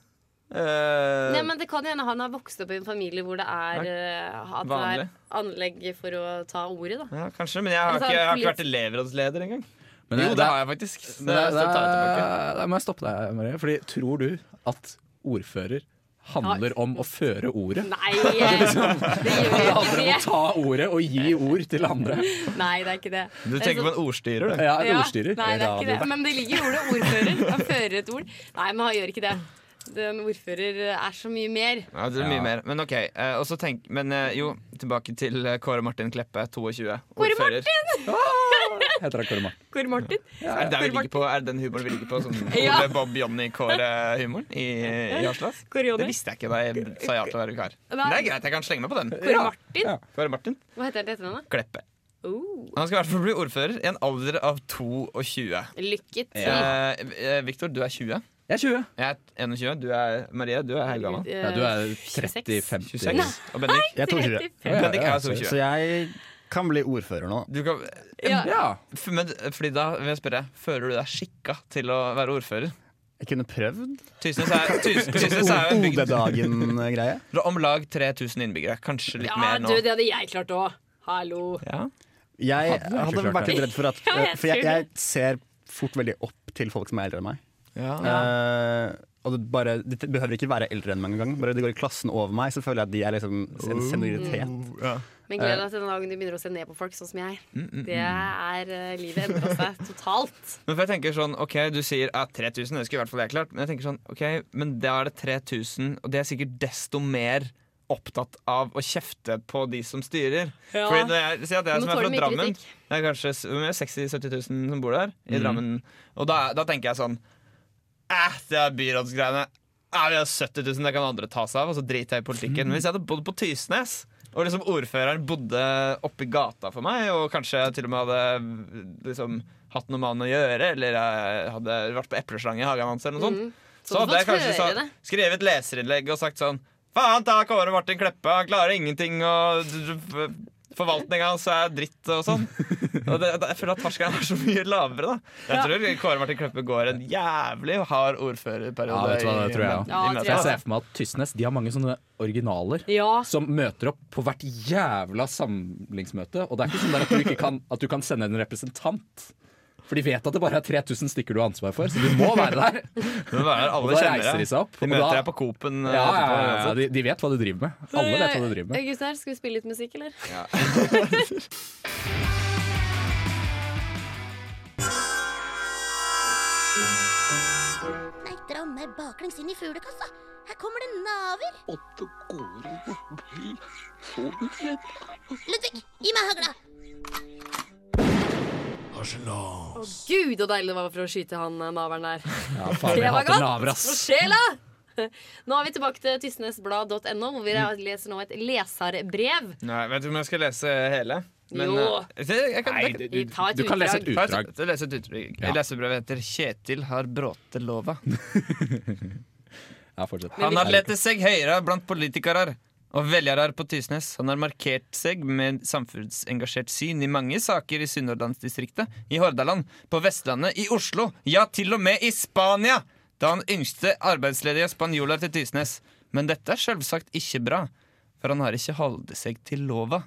[SPEAKER 4] Eh,
[SPEAKER 1] Nei, men Det kan jo hende han har vokst opp i en familie hvor det er, eh, at det er
[SPEAKER 4] Vanlig.
[SPEAKER 1] anlegg for å ta ordet. da
[SPEAKER 4] ja, kanskje, men jeg har,
[SPEAKER 1] Altså,
[SPEAKER 4] ikke, jeg har ikke
[SPEAKER 1] politisk-
[SPEAKER 4] vært elevrådsleder engang.
[SPEAKER 3] Men
[SPEAKER 4] Jo, det har jeg faktisk. Det,
[SPEAKER 8] Nei,
[SPEAKER 4] det, tar jeg tilbake.
[SPEAKER 8] nei, nei, må jeg stoppe deg, Marie. Fordi tror du at ordfører handler om å føre ordet?
[SPEAKER 1] Nei, eh, det
[SPEAKER 4] sånn-
[SPEAKER 1] gjør
[SPEAKER 8] Det
[SPEAKER 1] jo
[SPEAKER 8] handler om
[SPEAKER 1] ikke
[SPEAKER 8] å ta ordet og gi ord til andre.
[SPEAKER 1] det. Nei, det er ikke det.
[SPEAKER 4] Du
[SPEAKER 1] Det er
[SPEAKER 4] tenker
[SPEAKER 1] sånn-
[SPEAKER 4] på en ordstyrer, du.
[SPEAKER 8] Ja, en
[SPEAKER 1] Ja,
[SPEAKER 8] ordstyrer.
[SPEAKER 1] Nei, det er ikke det. Men det ligger i ordet ordfører. Han fører et ord. Nei, men han gjør ikke det. Den ordfører er så mye mer.
[SPEAKER 4] Ja, det er mye
[SPEAKER 3] Ja.
[SPEAKER 4] mer. Men ok, eh, og så tenk Men eh, jo, tilbake til eh, Kåre Martin Kleppe, 22.
[SPEAKER 1] Kåre
[SPEAKER 4] ordfører.
[SPEAKER 8] Heter han Kåre Martin?
[SPEAKER 1] Kåre Martin.
[SPEAKER 4] Er det der vi ligger på? Er det den humoren vi ligger på? Sånn
[SPEAKER 1] Ja.
[SPEAKER 4] Ole Bob Johnny-Kåre-humoren i, i Haslas?
[SPEAKER 1] Kåre
[SPEAKER 4] Det
[SPEAKER 1] Jonny.
[SPEAKER 4] visste jeg ikke da jeg sa ja til å være vikar. Men det er greit, jeg kan slenge meg på den.
[SPEAKER 1] Kåre Martin?
[SPEAKER 4] Kåre Martin
[SPEAKER 1] Hva heter han til etternavn? da?
[SPEAKER 4] Kleppe.
[SPEAKER 1] Oh,
[SPEAKER 4] Han skal i hvert fall bli ordfører i en alder av 22.
[SPEAKER 1] lykke til.
[SPEAKER 4] Eh, Victor, du er 20.
[SPEAKER 8] Jeg er 20.
[SPEAKER 4] Jeg er 21. Du er Marie, du er her gammel.
[SPEAKER 1] Eh,
[SPEAKER 8] Ja, du er
[SPEAKER 1] 26.
[SPEAKER 8] 30-50.
[SPEAKER 4] 26. Og Bendik,
[SPEAKER 9] Jeg er 22.
[SPEAKER 1] 35.
[SPEAKER 4] Bendik er
[SPEAKER 9] Så,
[SPEAKER 4] 22.
[SPEAKER 9] så jeg kan bli ordfører nå.
[SPEAKER 4] Du kan,
[SPEAKER 1] Ja.
[SPEAKER 8] Ja.
[SPEAKER 4] f- men, fordi da vil jeg spørre, føler du deg skikka til å være ordfører?
[SPEAKER 9] Jeg kunne prøvd.
[SPEAKER 4] Tysnes er, Tys- Tysnes er jo en bygd
[SPEAKER 9] OD-dagen-greie.
[SPEAKER 4] fra om lag 3000 innbyggere. Kanskje litt
[SPEAKER 1] Ja,
[SPEAKER 4] mer
[SPEAKER 1] du,
[SPEAKER 4] nå.
[SPEAKER 1] det hadde jeg klart òg. Hallo.
[SPEAKER 4] Ja.
[SPEAKER 9] Jeg
[SPEAKER 8] Hadde du ikke
[SPEAKER 9] hadde
[SPEAKER 8] klart
[SPEAKER 9] vært litt redd for at
[SPEAKER 1] Ja, jeg
[SPEAKER 9] For jeg,
[SPEAKER 1] tror
[SPEAKER 9] jeg ser fort veldig opp til folk som er eldre enn meg.
[SPEAKER 4] Ja.
[SPEAKER 9] Eh, og det, bare, det behøver ikke være eldre enn meg engang. Bare de går i klassen over meg, så føler jeg at de er liksom en senioritet.
[SPEAKER 1] Men gled deg til den dagen du begynner å se ned på folk sånn som jeg. Det er eh, Livet endra seg totalt.
[SPEAKER 4] Men for jeg tenker sånn, ok, Du sier at 3000, det skulle i hvert fall jeg klart. Men jeg tenker sånn, ok, men da er det 3000, og de er sikkert desto mer opptatt av å kjefte på de som styrer.
[SPEAKER 1] Ja.
[SPEAKER 4] Fordi når jeg sier at jeg
[SPEAKER 1] Du må
[SPEAKER 4] som er
[SPEAKER 1] tåle
[SPEAKER 4] fra
[SPEAKER 1] mye
[SPEAKER 4] Drammen
[SPEAKER 1] kritikk.
[SPEAKER 4] Det er kanskje s- hvor mye? 60 000-70 000 som bor der. I Drammen Og da, da tenker jeg sånn Æh, det er byrådsgreiene. Æh, vi har 70 000, det kan andre ta seg av. Og så driter jeg i politikken. Men hvis jeg hadde bodd på Tysnes og liksom ordføreren bodde oppi gata for meg, og kanskje til og med hadde liksom, hatt noe med han å gjøre, eller jeg hadde væde på epleslang i hagen hans, eller noe sånt,
[SPEAKER 1] Mm. Så
[SPEAKER 4] så
[SPEAKER 1] du
[SPEAKER 4] hadde jeg
[SPEAKER 1] fått
[SPEAKER 4] kanskje
[SPEAKER 1] høre
[SPEAKER 4] sa,
[SPEAKER 1] det.
[SPEAKER 4] skrevet leserinnlegg og sagt sånn Faen ta Kåre Martin Kleppe, han klarer ingenting, og d- d- f- forvaltninga hans er dritt og sånn. Og det, det, jeg føler at terskelen er så mye lavere, da. Jeg tror Kåre Martin Kleppe går en jævlig hard
[SPEAKER 8] Ja,
[SPEAKER 4] ordførerperiode.
[SPEAKER 8] vet du hva, det tror jeg
[SPEAKER 4] i-
[SPEAKER 8] også.
[SPEAKER 4] i
[SPEAKER 1] Ja, det
[SPEAKER 4] Mjøndalen.
[SPEAKER 8] Så jeg ser for meg at Tysnes de har mange sånne originaler.
[SPEAKER 1] Ja.
[SPEAKER 8] Som møter opp på hvert jævla samlingsmøte. Og det er ikke sånn der at du, ikke kan, at du kan sende en representant. For de vet at det bare er 3000 stykker du har ansvar for, så du må være der.
[SPEAKER 4] Men hva er det
[SPEAKER 8] Og
[SPEAKER 4] alle
[SPEAKER 8] da
[SPEAKER 4] kjenner
[SPEAKER 8] reiser de
[SPEAKER 4] deg?
[SPEAKER 8] seg opp.
[SPEAKER 4] De
[SPEAKER 8] og
[SPEAKER 4] møter
[SPEAKER 8] da-
[SPEAKER 4] deg på Coop-en.
[SPEAKER 8] ja,
[SPEAKER 4] eh,
[SPEAKER 8] ja,
[SPEAKER 4] etterpå,
[SPEAKER 8] ja, ja,
[SPEAKER 4] uansett.
[SPEAKER 8] de, de vet hva de driver med. Alle vet hva de driver med.
[SPEAKER 1] Eh, Gutter, skal vi spille litt musikk, eller?
[SPEAKER 10] Nei, dra meg baklengs inn i fuglekassa. Her kommer det naver. Ludvig, gi meg hagla.
[SPEAKER 1] Gud, så deilig det var for å skyte han eh, naveren der.
[SPEAKER 8] Ja, faen,
[SPEAKER 1] Det
[SPEAKER 8] jeg
[SPEAKER 1] var
[SPEAKER 8] hater
[SPEAKER 1] godt.
[SPEAKER 8] naver, ass.
[SPEAKER 1] For sjela! Nå er vi tilbake til tysnesblad.no, hvor vi leser nå et leserbrev.
[SPEAKER 4] Nei, vet du om jeg skal lese hele? Men,
[SPEAKER 1] Jo.
[SPEAKER 4] eh, jeg, jeg kan,
[SPEAKER 8] Nei,
[SPEAKER 4] det,
[SPEAKER 8] du,
[SPEAKER 1] Vi tar et
[SPEAKER 8] du kan lese et
[SPEAKER 4] jeg,
[SPEAKER 8] utdrag.
[SPEAKER 4] jeg leser et utdrag.
[SPEAKER 8] Ja.
[SPEAKER 4] Lesebrevet heter 'Kjetil har bråtelova'.
[SPEAKER 8] Ja, fortsett.
[SPEAKER 4] Han har lett seg høyere blant politikere og velgere på Tysnes. Han har markert seg med samfunnsengasjert syn i mange saker i Sunnhordlandsdistriktet, i Hordaland, på Vestlandet, i Oslo, ja, til og med i Spania! Da han yngste arbeidsledige spanjoler til Tysnes. Men dette er selvsagt ikke bra, for han har ikke holdt seg til lova.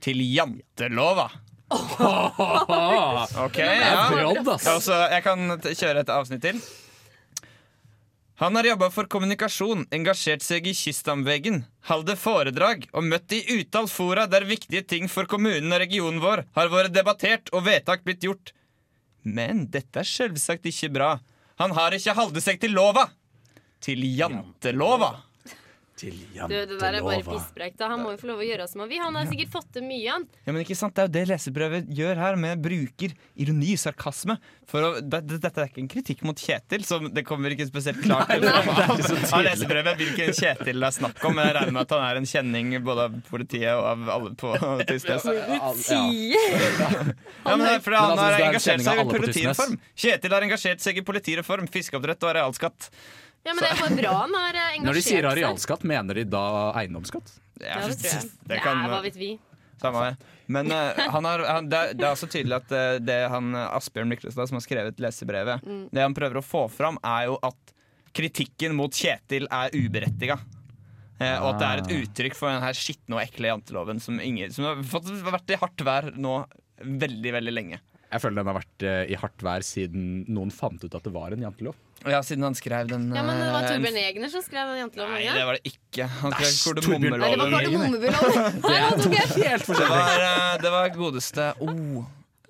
[SPEAKER 4] Til jantelova. Ok, ja.
[SPEAKER 8] Brodd, ass.
[SPEAKER 4] Ja, altså, jeg kan t- kjøre et avsnitt til. Han har jobba for kommunikasjon, engasjert seg i Kyststamvegen, holdt foredrag og møtt i utall fora der viktige ting for kommunen og regionen vår har vært debattert og vedtak blitt gjort. Men dette er selvsagt ikke bra. Han har ikke holdt seg til lova. Til jantelova.
[SPEAKER 1] Du, det der er bare pisspreik. da. Han må jo få lov å gjøre som han vil. Han har sikkert fått til mye, han.
[SPEAKER 4] Ja, men ikke sant? Det er jo det leserbrevet gjør her, med bruker ironi, sarkasme. For å, det, det, dette er ikke en kritikk mot Kjetil, som det kommer ikke spesielt klart til av lesebrevet hvilken Kjetil det er snakk om. Men jeg regner med at han er en kjenning både av politiet og av alle på Tysnes. Ja, men det er fordi
[SPEAKER 8] Men
[SPEAKER 4] han
[SPEAKER 8] altså,
[SPEAKER 4] har
[SPEAKER 8] det er en
[SPEAKER 4] engasjert
[SPEAKER 8] kjenning av
[SPEAKER 4] seg i
[SPEAKER 8] alle på Tysnes.
[SPEAKER 4] politireform. Kjetil har engasjert seg i politireform, fiskeoppdrett og arealskatt.
[SPEAKER 1] Ja, men det er bare bra han har eh, engasjert
[SPEAKER 8] Når de sier arealskatt, mener de da eiendomsskatt?
[SPEAKER 4] Ja,
[SPEAKER 1] Ja, det tror jeg.
[SPEAKER 4] det kan-
[SPEAKER 1] er, hva vet vi.
[SPEAKER 4] Samme her. Men eh, han har, han, det, er, det er også tydelig at eh, det han eh, Asbjørn Myklestad som har skrevet lesebrevet,
[SPEAKER 1] Mm.
[SPEAKER 4] det han prøver å få fram, er jo at kritikken mot Kjetil er uberettiga. Eh, og at det er et uttrykk for den her skitne og ekle janteloven som, ingen, som har fått, vært i hardt vær nå veldig, veldig lenge.
[SPEAKER 3] Jeg føler den har vært eh, i hardt vær siden noen fant ut at det var en jantelov.
[SPEAKER 4] Ja, siden han skrev den
[SPEAKER 1] Ja, men det var
[SPEAKER 4] eh, en-
[SPEAKER 1] Torbjørn Egner som skrev den janteloven?
[SPEAKER 4] Nei,
[SPEAKER 1] ikke?
[SPEAKER 4] det var det ikke. Han skrev
[SPEAKER 3] Æsj, Torbjørn
[SPEAKER 1] Nei, det var
[SPEAKER 4] kardemommeloven.
[SPEAKER 1] kardemommebuloven. Nei, nå tok jeg feil.
[SPEAKER 4] Det var, eh, det var godeste oh.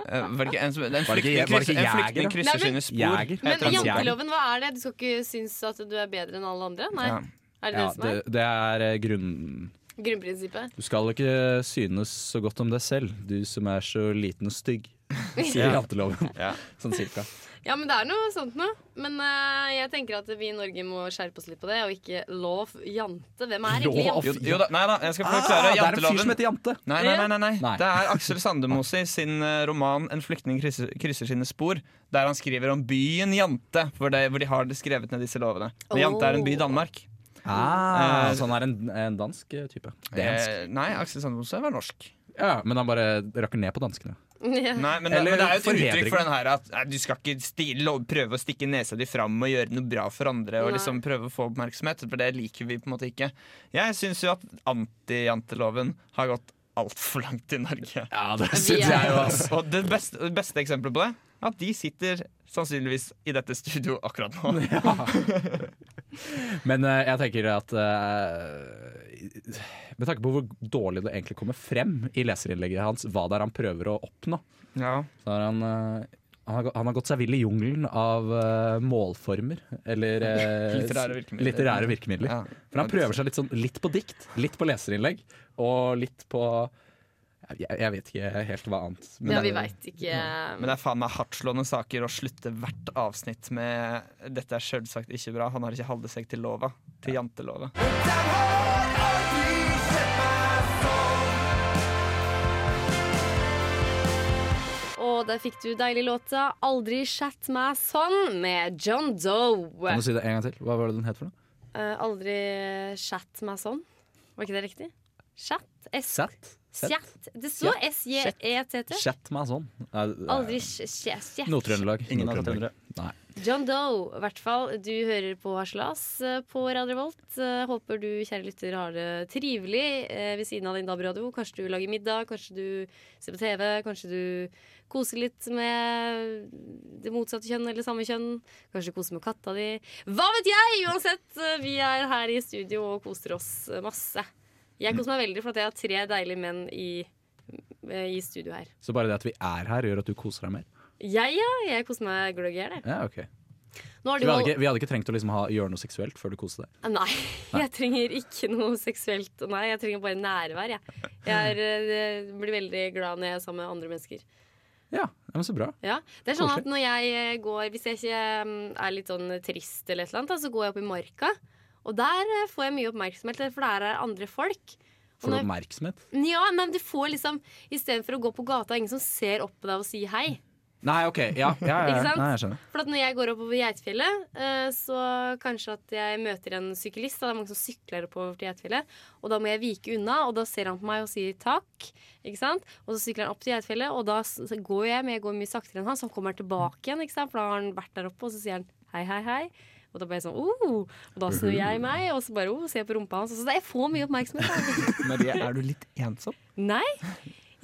[SPEAKER 4] eh, Var det ikke en som En
[SPEAKER 3] Var det ikke-
[SPEAKER 4] flyktning
[SPEAKER 3] var
[SPEAKER 4] krysser-
[SPEAKER 3] det ikke
[SPEAKER 4] en flyktning
[SPEAKER 3] Jæger, da?
[SPEAKER 4] krysser
[SPEAKER 1] Nei, men-
[SPEAKER 4] sine spor.
[SPEAKER 3] Jæger.
[SPEAKER 4] heter
[SPEAKER 1] Men
[SPEAKER 4] han.
[SPEAKER 1] janteloven, hva er det? Du skal ikke synes at du er bedre enn alle andre? Nei,
[SPEAKER 4] Ja.
[SPEAKER 1] er det
[SPEAKER 3] Ja,
[SPEAKER 1] det som er
[SPEAKER 3] det, det er eh, grunnen.
[SPEAKER 1] grunnprinsippet?
[SPEAKER 3] Du skal ikke synes så godt om deg selv, du som er så liten og stygg, sier janteloven.
[SPEAKER 4] Ja.
[SPEAKER 3] Sånn cirka.
[SPEAKER 1] Ja, men det er noe sånt noe. Men eh, jeg tenker at vi i Norge må skjerpe oss litt på det, og ikke lov jante. Hvem er egentlig
[SPEAKER 3] Lov.
[SPEAKER 1] jante?
[SPEAKER 4] Jo, jo da, nei da, jeg skal forklare
[SPEAKER 3] Ah, det er en fyr
[SPEAKER 4] janteloven.
[SPEAKER 3] som heter Jante.
[SPEAKER 4] Nei, nei, nei, nei, nei.
[SPEAKER 3] Nei.
[SPEAKER 4] Det er Aksel Sandemose i sin eh, roman 'En flyktning krysser, krysser sine spor', der han skriver om byen Jante, hvor de, hvor de har skrevet ned disse lovene. Men Jante er en by i Danmark.
[SPEAKER 3] Ah,
[SPEAKER 4] Eh,
[SPEAKER 3] så han er en, en dansk eh, type. Dansk.
[SPEAKER 4] Eh, nei, Aksel Sandemose var norsk.
[SPEAKER 3] Ja, men han bare rakker ned på danskene.
[SPEAKER 4] Nei, men,
[SPEAKER 3] Eller
[SPEAKER 4] men det er jo et
[SPEAKER 3] forhedring.
[SPEAKER 4] uttrykk for den her at nei, du skal ikke sti, lo, prøve å stikke nesa di fram og gjøre noe bra for andre og
[SPEAKER 1] Nei.
[SPEAKER 4] liksom prøve å få oppmerksomhet, for det liker vi på en måte ikke. Jeg syns jo at antijanteloven har gått altfor langt i Norge.
[SPEAKER 3] Ja, det
[SPEAKER 1] synes er- jeg jo,
[SPEAKER 4] Og det beste, det beste eksempelet på det er at de sitter sannsynligvis i dette studio akkurat nå.
[SPEAKER 3] Men eh, jeg tenker at eh, Med tanke på hvor dårlig det egentlig kommer frem i leserinnlegget hans, hva det er han prøver å oppnå,
[SPEAKER 4] Ja.
[SPEAKER 3] så har han eh, han har, gå- han har gått seg vill i jungelen av eh, målformer, eller eh,
[SPEAKER 4] Litterære virkemidler.
[SPEAKER 3] litterære virkemidler.
[SPEAKER 4] Ja.
[SPEAKER 3] For han prøver seg litt, sånn, litt på dikt, litt på leserinnlegg, og litt på Jeg, jeg vet ikke helt hva annet. men
[SPEAKER 1] Ja,
[SPEAKER 3] det-
[SPEAKER 1] vi veit ikke.
[SPEAKER 4] Men det er faen meg hardtslående saker å slutte hvert avsnitt med 'dette er selvsagt ikke bra', han har ikke holdt seg til lova. Til jantelova.
[SPEAKER 1] Og der fikk du deilig låta 'Aldri chat meg sånn' med John Doe.
[SPEAKER 3] Kan du si det en gang til? Hva var det den het for noe?
[SPEAKER 1] Eh, aldri chat meg sånn. Var ikke det riktig? Chat? S
[SPEAKER 3] Sett?
[SPEAKER 1] Chat. Det står S-J-E-T-T.
[SPEAKER 3] Chat meg sånn. Nei, det er-
[SPEAKER 1] Aldri chat.
[SPEAKER 3] Nord-Trøndelag.
[SPEAKER 9] Ingen av
[SPEAKER 3] Nord-Trøndelag.
[SPEAKER 9] tøndere.
[SPEAKER 3] Nei.
[SPEAKER 1] John Doe, i hvert fall. Du hører på Harselas eh, på Radio Volt. Eh, Håper du, kjære lytter, har det trivelig eh, ved siden av din DAB-radio. Kanskje du lager middag, kanskje du ser på TV, kanskje du koser litt med det motsatte kjønn eller samme kjønn. Kanskje du koser med katta di. Hva vet jeg! Uansett, eh, vi er her i studio og koser oss eh, masse. Jeg koser meg veldig for at jeg har tre deilige menn i, eh, i studio her.
[SPEAKER 3] Så bare det at vi er her, gjør at du koser deg mer?
[SPEAKER 1] Jeg, ja. Jeg koser meg gløgg i hjel, jeg.
[SPEAKER 3] Ja, ok
[SPEAKER 1] Nå har
[SPEAKER 3] Så
[SPEAKER 1] du
[SPEAKER 3] vi, hadde
[SPEAKER 1] hold-
[SPEAKER 3] ikke, vi hadde ikke trengt å liksom ha, gjøre noe seksuelt før du koste deg?
[SPEAKER 1] Nei, jeg trenger ikke noe seksuelt. Nei, jeg trenger bare nærvær. Jeg, jeg er, eh, blir veldig glad når jeg er sammen med andre mennesker.
[SPEAKER 3] Ja, ja men så bra.
[SPEAKER 1] Ja. Det er sånn
[SPEAKER 3] Koselig.
[SPEAKER 1] at når jeg eh, går Hvis jeg ikke mm, er litt sånn trist eller et eller annet, da, så går jeg opp i marka. Og der eh, får jeg mye oppmerksomhet, for der er andre folk. Og
[SPEAKER 3] Får du
[SPEAKER 1] når,
[SPEAKER 3] oppmerksomhet?
[SPEAKER 1] ja, men du får liksom Istedenfor å gå på gata, ingen som ser opp på deg og sier hei.
[SPEAKER 3] Nei, ok. Ja, ja, ja,
[SPEAKER 1] Ikke
[SPEAKER 3] ja.
[SPEAKER 1] sant?
[SPEAKER 3] Eh, Nei, jeg skjønner.
[SPEAKER 1] For at når jeg går oppover Geitfjellet, eh, så kanskje at jeg møter en syklist. Da. Det er mange som sykler oppover til Geitfjellet. Og da må jeg vike unna, og da ser han på meg og sier takk. Ikke sant? Og så sykler han opp til Geitfjellet, og da s- så går jeg, men jeg går mye saktere enn han, så han kommer tilbake igjen, ikke sant? for da har han vært der oppe, og så sier han hei, hei, hei. Og da blir jeg sånn, oh! Og da snur jeg meg, og så bare oh, ser jeg på rumpa hans. Så jeg får mye oppmerksomhet. da.
[SPEAKER 4] Marie, er du litt ensom?
[SPEAKER 1] Nei,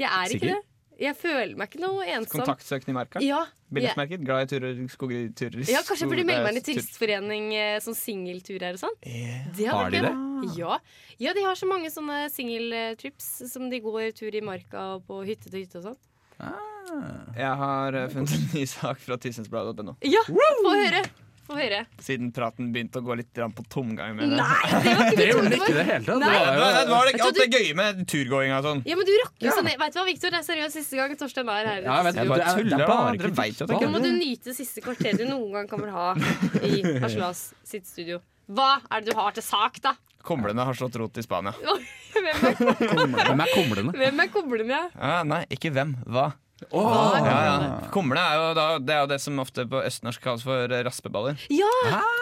[SPEAKER 1] jeg er ikke
[SPEAKER 3] Sikker?
[SPEAKER 1] det. Jeg føler meg ikke noe ensom.
[SPEAKER 4] Kontaktsøkende i merka?
[SPEAKER 1] Ja, jeg-
[SPEAKER 4] Billettmerket? Glad i turer, skogturer
[SPEAKER 1] Ja, kanskje jeg
[SPEAKER 3] Mm,
[SPEAKER 1] burde melde meg inn i
[SPEAKER 4] skog-
[SPEAKER 1] turistforening eh, sånn singelturer og sånn. Det hadde
[SPEAKER 3] Har de
[SPEAKER 1] vært bra. Ja. ja, de har så mange sånne singeltrips som de går tur i marka og på hytte til hytte og sånn.
[SPEAKER 4] Jeg har eh, funnet en ny sak fra Tysensbladet.no.
[SPEAKER 1] Ja, få høre! Få høre.
[SPEAKER 4] Siden praten begynte å gå litt grann på tomgang. Med det.
[SPEAKER 1] Nei, det var ikke
[SPEAKER 3] Det
[SPEAKER 1] det!
[SPEAKER 3] gjorde
[SPEAKER 1] det
[SPEAKER 3] den ikke i det
[SPEAKER 1] var.
[SPEAKER 3] hele tatt.
[SPEAKER 1] Nei.
[SPEAKER 3] Det
[SPEAKER 4] Nei,
[SPEAKER 3] var jo-
[SPEAKER 4] det var
[SPEAKER 1] Jeg
[SPEAKER 4] ikke
[SPEAKER 1] tror
[SPEAKER 4] alt det gøye med turgåing og sånn.
[SPEAKER 1] Ja, men du rocker jo sånn ned. Vet du hva, Victor? Det er seriøst siste gang Torstein er her.
[SPEAKER 3] Ja, jeg
[SPEAKER 4] Jeg
[SPEAKER 3] vet, det,
[SPEAKER 4] bare
[SPEAKER 3] er, det
[SPEAKER 4] tuller,
[SPEAKER 3] er bare
[SPEAKER 4] dere vet jo at jeg
[SPEAKER 1] Nå må
[SPEAKER 3] kritikk.
[SPEAKER 1] du nyte det siste kvarteret du noen gang kommer til å ha i Haslas sitt studio. Hva er det du har til sak, da?
[SPEAKER 4] Kumlene har slått rot i Spania.
[SPEAKER 1] Hvem er,
[SPEAKER 3] Hvem er kumlene?
[SPEAKER 1] hvem er koblende?
[SPEAKER 4] Ja, nei, ikke hvem. Hva? Åh, ja, ja. Kumle er jo, da, det er jo det som ofte på østnorsk kalles for eh, raspeballer.
[SPEAKER 1] Ja,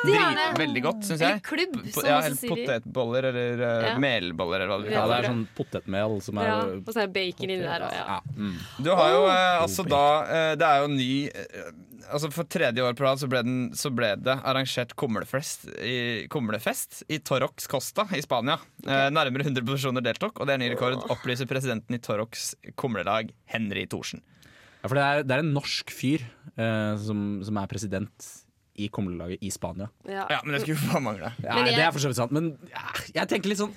[SPEAKER 1] det er
[SPEAKER 4] Drit-
[SPEAKER 1] det!
[SPEAKER 4] Veldig godt, syns
[SPEAKER 1] Eller
[SPEAKER 4] jeg.
[SPEAKER 1] klubb, som også
[SPEAKER 4] ja, eller
[SPEAKER 1] sier.
[SPEAKER 4] potetboller eller eh,
[SPEAKER 1] Ja.
[SPEAKER 4] melboller eller hva det
[SPEAKER 1] Ja,
[SPEAKER 4] kalles.
[SPEAKER 8] det er sånn potetmel som er
[SPEAKER 1] Ja, og så er det bacon inni der òg, ja.
[SPEAKER 3] mm.
[SPEAKER 4] Du har jo eh, altså da eh, Det er jo ny eh, Altså For tredje år på rad så, ble den- så ble det arrangert kumlefest i, kumlefest i Torrox Costa i Spania. Eh, nærmere 100 personer deltok, og det er ny rekord, opplyser presidenten i Torrox kumlelag, Henry Thorsen.
[SPEAKER 3] Ja, for det er, det er en norsk fyr eh, som, som er president i kumlelaget i Spania.
[SPEAKER 1] ja.
[SPEAKER 4] Ja, men det skulle faen mangle.
[SPEAKER 3] Ja,
[SPEAKER 1] Men jeg-
[SPEAKER 3] Det er for så vidt sant, men ja, jeg tenker litt sånn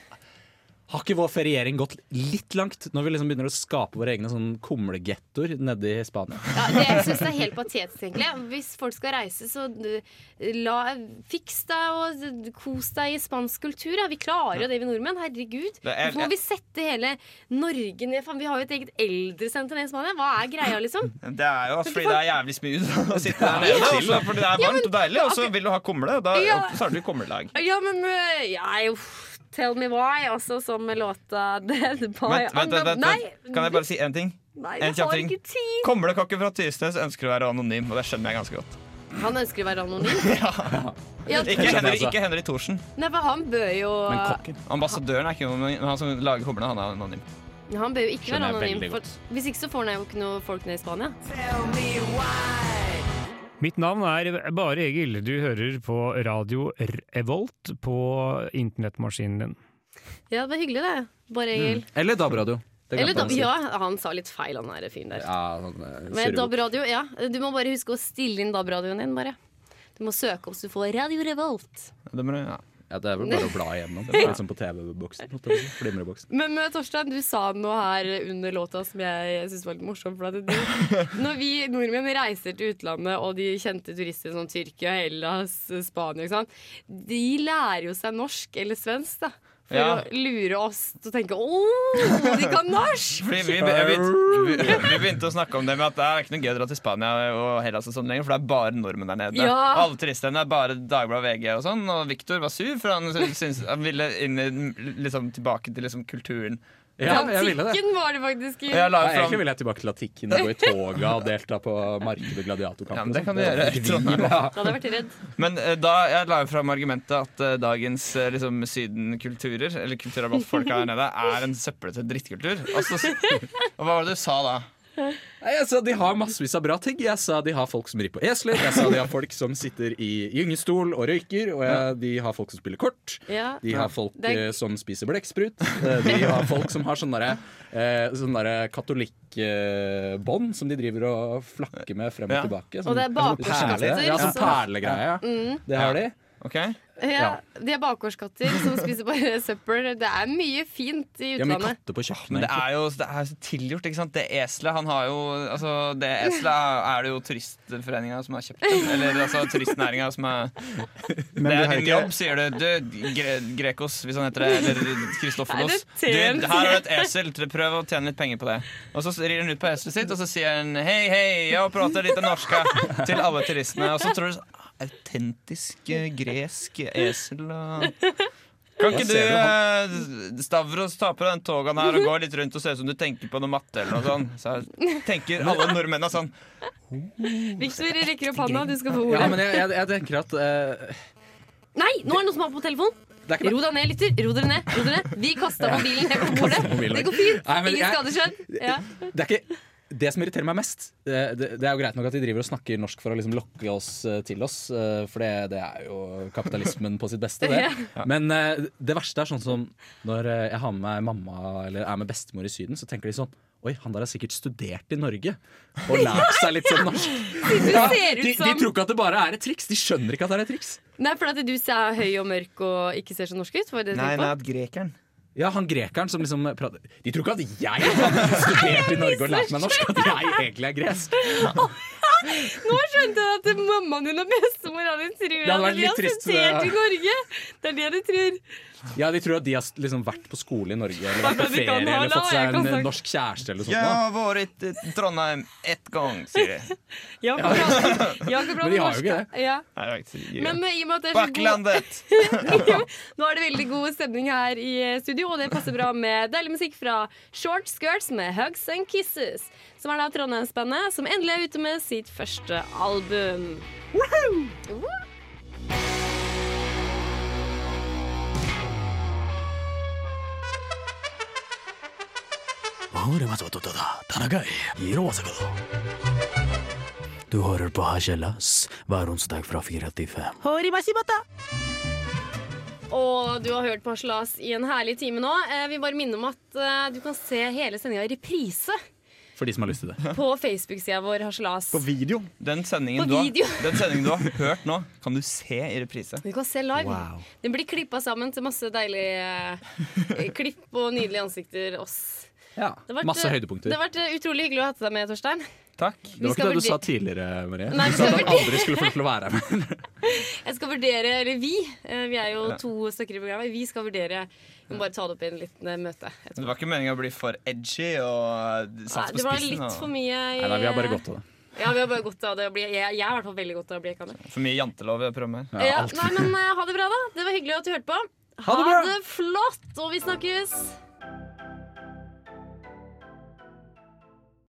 [SPEAKER 3] Har ikke vår feriering gått litt langt når vi liksom begynner å skape våre egne sånn kumlegettoer nede i Spania?
[SPEAKER 1] Ja, det jeg synes det er helt patetisk, egentlig. Hvis folk skal reise, så uh, la, fiks deg og uh, kos deg i spansk kultur. Ja. Vi klarer jo det, vi nordmenn. Herregud.
[SPEAKER 4] Det er-
[SPEAKER 1] Hvorfor må vi sette hele Norge ned? Faen, vi har jo et eget eldresenter nede i Spania. Hva er greia, liksom?
[SPEAKER 4] Det er jo altså, fordi det er jævlig smooth å sitte der nede. Altså, fordi det er varmt og deilig, og så vil du ha kumle, og da
[SPEAKER 1] Ja.
[SPEAKER 4] og så starter du kumlelag.
[SPEAKER 1] Ja, men uh, jeg, uff, Tell me why, altså, som med låta Dead by
[SPEAKER 4] Vent, vent, vent, vent, vent.
[SPEAKER 1] Nei,
[SPEAKER 4] Kan jeg bare si én ting?
[SPEAKER 1] nei,
[SPEAKER 4] en
[SPEAKER 1] jeg
[SPEAKER 4] kjapp
[SPEAKER 1] har
[SPEAKER 4] ting?
[SPEAKER 1] ikke tid.
[SPEAKER 4] Kumlekokken fra Tysnes ønsker å være anonym, og det skjønner jeg ganske godt.
[SPEAKER 1] Han ønsker å være anonym. ja.
[SPEAKER 4] Ikke Henry,
[SPEAKER 3] skjønner jeg også.
[SPEAKER 4] ikke Henry Thorsen.
[SPEAKER 1] Nei, for han bør jo
[SPEAKER 4] Ambassadøren er ikke noe, men han som lager humlene, han er anonym.
[SPEAKER 1] Han bør jo ikke være
[SPEAKER 3] Skjønner jeg
[SPEAKER 1] anonym.
[SPEAKER 3] veldig
[SPEAKER 1] For, hvis ikke så får han jo ikke noe folk ned i Spania.
[SPEAKER 11] Mitt navn er Bare Egil. Du hører på radio Revolt på internettmaskinen din.
[SPEAKER 1] Ja, det var hyggelig, det. Bare
[SPEAKER 3] Mm,
[SPEAKER 1] Egil.
[SPEAKER 3] Eller DAB-radio. Det
[SPEAKER 1] Eller
[SPEAKER 3] glemte
[SPEAKER 1] da,
[SPEAKER 3] jeg å si.
[SPEAKER 1] ja, han sa litt feil, han der fyren der.
[SPEAKER 3] Ja, sånn, eh,
[SPEAKER 1] Men
[SPEAKER 3] surrebukk.
[SPEAKER 1] DAB-radio, ja. Du må bare huske å stille inn DAB-radioen din, bare. Du må søke opp så du får Radio Revolt.
[SPEAKER 4] Det må du- ja.
[SPEAKER 3] ja, det er vel bare å bla igjennom. Det er litt som på TV-boksen. holdt jeg på å si. Flimreboksen.
[SPEAKER 1] Men eh, Torstein, du sa noe her under låta som jeg syns var litt morsomt. For at du, når vi nordmenn reiser til utlandet, og de kjente turister som Tyrkia, Hellas, Spania ikke sant? De lærer jo seg norsk eller svensk, da. For
[SPEAKER 4] Ja.
[SPEAKER 1] å lure oss til å tenke 'Å, de kan norsk!'
[SPEAKER 4] Fordi vi, vi, vi, vi begynte å snakke om det med at det er ikke noe gøy å dra til Spania og Hellas og sånn lenger, for det er bare nordmenn der nede.
[SPEAKER 1] Ja.
[SPEAKER 4] Alle turistene er bare Dagbladet VG og sånn, og Victor var sur, for han, syns, han ville inn i, liksom, tilbake til liksom, kulturen.
[SPEAKER 3] Ja, jeg ville det.
[SPEAKER 1] Antikken var det faktisk.
[SPEAKER 4] Og jeg la jo
[SPEAKER 3] Nei, egentlig
[SPEAKER 4] fram
[SPEAKER 3] vil jeg tilbake til latikken og gå i toga og delta på markedet
[SPEAKER 4] ja,
[SPEAKER 3] Gladiatorkampen.
[SPEAKER 4] men det kan du gjøre. Sånn.
[SPEAKER 1] Da hadde jeg vært redd.
[SPEAKER 4] Men eh, da, jeg la jo fram argumentet at eh, dagens eh, liksom, sydenkulturer, eller kulturer blant folka her nede, er en søppelete drittkultur. Og, så, og hva var det du sa da?
[SPEAKER 3] Nei, Jeg sa de har massevis av bra ting. Jeg sa de har folk som rir på esler. Jeg sa de har folk som sitter i gyngestol og røyker. Og jeg, de har folk som spiller kort.
[SPEAKER 1] Ja.
[SPEAKER 3] De har folk
[SPEAKER 1] Det er-
[SPEAKER 3] eh, som spiser blekksprut. Eh, De har folk som har sånne, derre, eh, sånne derre katolikkbånd som de driver og flakker med frem og
[SPEAKER 4] Ja.
[SPEAKER 3] tilbake.
[SPEAKER 1] Og det er
[SPEAKER 3] sånn
[SPEAKER 1] bakgårdskatter,
[SPEAKER 3] perle- Ja, sånn
[SPEAKER 1] så-
[SPEAKER 3] perlegreie. Ja.
[SPEAKER 1] Mm.
[SPEAKER 3] Det har de.
[SPEAKER 4] Ok?
[SPEAKER 1] Ja, De er bakgårdskatter som spiser bare søppel. Det er mye fint i
[SPEAKER 3] De har mye
[SPEAKER 1] utlandet.
[SPEAKER 3] katter på
[SPEAKER 4] Men
[SPEAKER 3] kjøkkenet.
[SPEAKER 4] det er jo det er jo så tilgjort, ikke sant? Det eselet, han har jo altså, Det eselet er, er det jo turistforeninga som har kjøpt. Eller altså turistnæringa som er Det
[SPEAKER 9] Men du
[SPEAKER 4] er
[SPEAKER 9] har
[SPEAKER 4] din
[SPEAKER 9] ikke-
[SPEAKER 4] jobb, sier du. Du, Gre Grekos, hvis han heter det. Eller Kristoffolos. Du,
[SPEAKER 1] Er det
[SPEAKER 4] her har du et esel, tre- prøv å tjene litt penger på det. Og så rir han ut på eselet sitt, og så sier han hei, hei, og prater litt norsk til alle turistene. Og så tror du så- Autentisk eh, gresk esel og kan ikke du, eh, Stavros, ta på deg den togaen her og gå litt rundt og se ut som du tenker på noe matte eller noe sånt? Så tenker alle nordmennene sånn.
[SPEAKER 1] Victor rekker opp handa, du skal få
[SPEAKER 3] Ja,
[SPEAKER 1] ordet.
[SPEAKER 3] men jeg, jeg, jeg tenker at eh,
[SPEAKER 1] Nei, nå er det noen som har på telefonen!
[SPEAKER 3] det er ikke
[SPEAKER 1] Ro deg ned, lytter. Ro dere ned. ro dere ned Vi kasta mobilen ned på bordet.
[SPEAKER 3] mobilen.
[SPEAKER 1] Det går fint.
[SPEAKER 3] Nei, men
[SPEAKER 1] Ingen
[SPEAKER 3] jeg-
[SPEAKER 1] skader skjedd. Ja.
[SPEAKER 3] det er ikke det som irriterer meg mest, det, det, det er jo greit nok at de driver og snakker norsk for å liksom lokke oss eh, til oss, eh, for det, det er jo kapitalismen på sitt beste, det. Men eh, det verste er sånn som når eh, jeg har med meg mamma eller er med bestemor i Syden, så tenker de sånn Oi, han der har sikkert studert i Norge og lært seg litt sånn norsk. Ja,
[SPEAKER 1] ser ut
[SPEAKER 3] de, de
[SPEAKER 1] som-
[SPEAKER 3] tror ikke at det bare er et triks. De skjønner ikke at det er et triks.
[SPEAKER 1] Nei, for at du er høy og mørk og ikke ser så norsk ut? Var det det du tenkte på?
[SPEAKER 4] at grekeren
[SPEAKER 3] Ja, han grekeren som liksom prater De tror ikke at jeg har studert i Norge og lært meg norsk, at jeg egentlig er gresk.
[SPEAKER 1] Nå skjønte jeg at mammaen din og bestemora di tror
[SPEAKER 3] Det hadde
[SPEAKER 1] at
[SPEAKER 3] vært
[SPEAKER 1] de
[SPEAKER 3] litt
[SPEAKER 1] har
[SPEAKER 3] trist,
[SPEAKER 1] studert
[SPEAKER 3] det.
[SPEAKER 1] i Norge. Det er det de tror.
[SPEAKER 3] Ja, De tror at de har liksom vært på skole i Norge eller
[SPEAKER 1] Hva
[SPEAKER 3] vært på
[SPEAKER 1] de
[SPEAKER 3] ferie
[SPEAKER 1] kan ha,
[SPEAKER 3] eller
[SPEAKER 1] da,
[SPEAKER 3] fått
[SPEAKER 1] jeg
[SPEAKER 3] seg
[SPEAKER 1] kan
[SPEAKER 3] en
[SPEAKER 1] sagt.
[SPEAKER 3] norsk kjæreste eller
[SPEAKER 4] Jeg
[SPEAKER 3] noe
[SPEAKER 4] har vært i Trondheim ett gang, sier de.
[SPEAKER 1] Jeg har ikke bra- jeg har ikke bra
[SPEAKER 4] Men de har jo
[SPEAKER 1] norsk,
[SPEAKER 4] ikke det.
[SPEAKER 1] Ja.
[SPEAKER 4] Nei, det er ikke så gøy.
[SPEAKER 1] Men eh, i og med at det er så god
[SPEAKER 4] Bakklandet!
[SPEAKER 1] Nå er det veldig god stemning her i eh, studio, og det passer bra med deilig musikk fra Short Skirts med Hugs and Kisses, som er da Trondheimsbandet som endelig er ute med sitt første album. Woohoo!
[SPEAKER 9] Du hører på Hasjelas hver onsdag fra 4 til 5.
[SPEAKER 1] Og du har hørt på Haslas i en herlig time nå. Eh, Vi bare minner om at eh, du kan se hele sendinga i reprise
[SPEAKER 3] sånt. For de som har lyst til det.
[SPEAKER 1] på Facebook-sida vår Haslas.
[SPEAKER 4] video. Den sendingen,
[SPEAKER 1] På
[SPEAKER 4] du har,
[SPEAKER 1] video.
[SPEAKER 4] den sendingen du har hørt nå, kan du se i reprise.
[SPEAKER 1] Du kan se live.
[SPEAKER 4] Wow.
[SPEAKER 1] Den blir klippa sammen til masse deilige eh, klipp og nydelige ansikter. Oss. Det har vært,
[SPEAKER 3] masse
[SPEAKER 1] eh,
[SPEAKER 3] høydepunkter.
[SPEAKER 1] Det har vært eh, utrolig hyggelig å ha deg med, Torstein.
[SPEAKER 4] Takk.
[SPEAKER 3] Det
[SPEAKER 1] Vi skal
[SPEAKER 3] var ikke det du
[SPEAKER 1] vurder-
[SPEAKER 3] sa tidligere, Marie.
[SPEAKER 1] Nei, vi
[SPEAKER 3] du sa
[SPEAKER 1] skal
[SPEAKER 3] at han
[SPEAKER 1] vurdere-
[SPEAKER 3] aldri skulle få lov til å være her.
[SPEAKER 1] Jeg skal vurdere, eller vi, eh, vi er jo
[SPEAKER 4] Ja.
[SPEAKER 1] to stykker i programmet, vi skal vurdere Vi må bare ta det opp i en liten eh, møte. etterpå.
[SPEAKER 4] Det var ikke meningen å bli for edgy og
[SPEAKER 1] Nei,
[SPEAKER 4] satt på
[SPEAKER 1] det var
[SPEAKER 4] spissen.
[SPEAKER 1] litt
[SPEAKER 4] og-
[SPEAKER 1] for mye i,
[SPEAKER 4] av det.
[SPEAKER 1] Ja, vi har bare godt av det å bli Jeg, jeg er i hvert fall veldig godt av å bli ekkamer.
[SPEAKER 4] For mye jantelov i det programmet her.
[SPEAKER 1] Ja, nei, men eh, ha det bra, da. Det var hyggelig at du hørte på.
[SPEAKER 4] Ha det bra.
[SPEAKER 1] flott, og vi snakkes.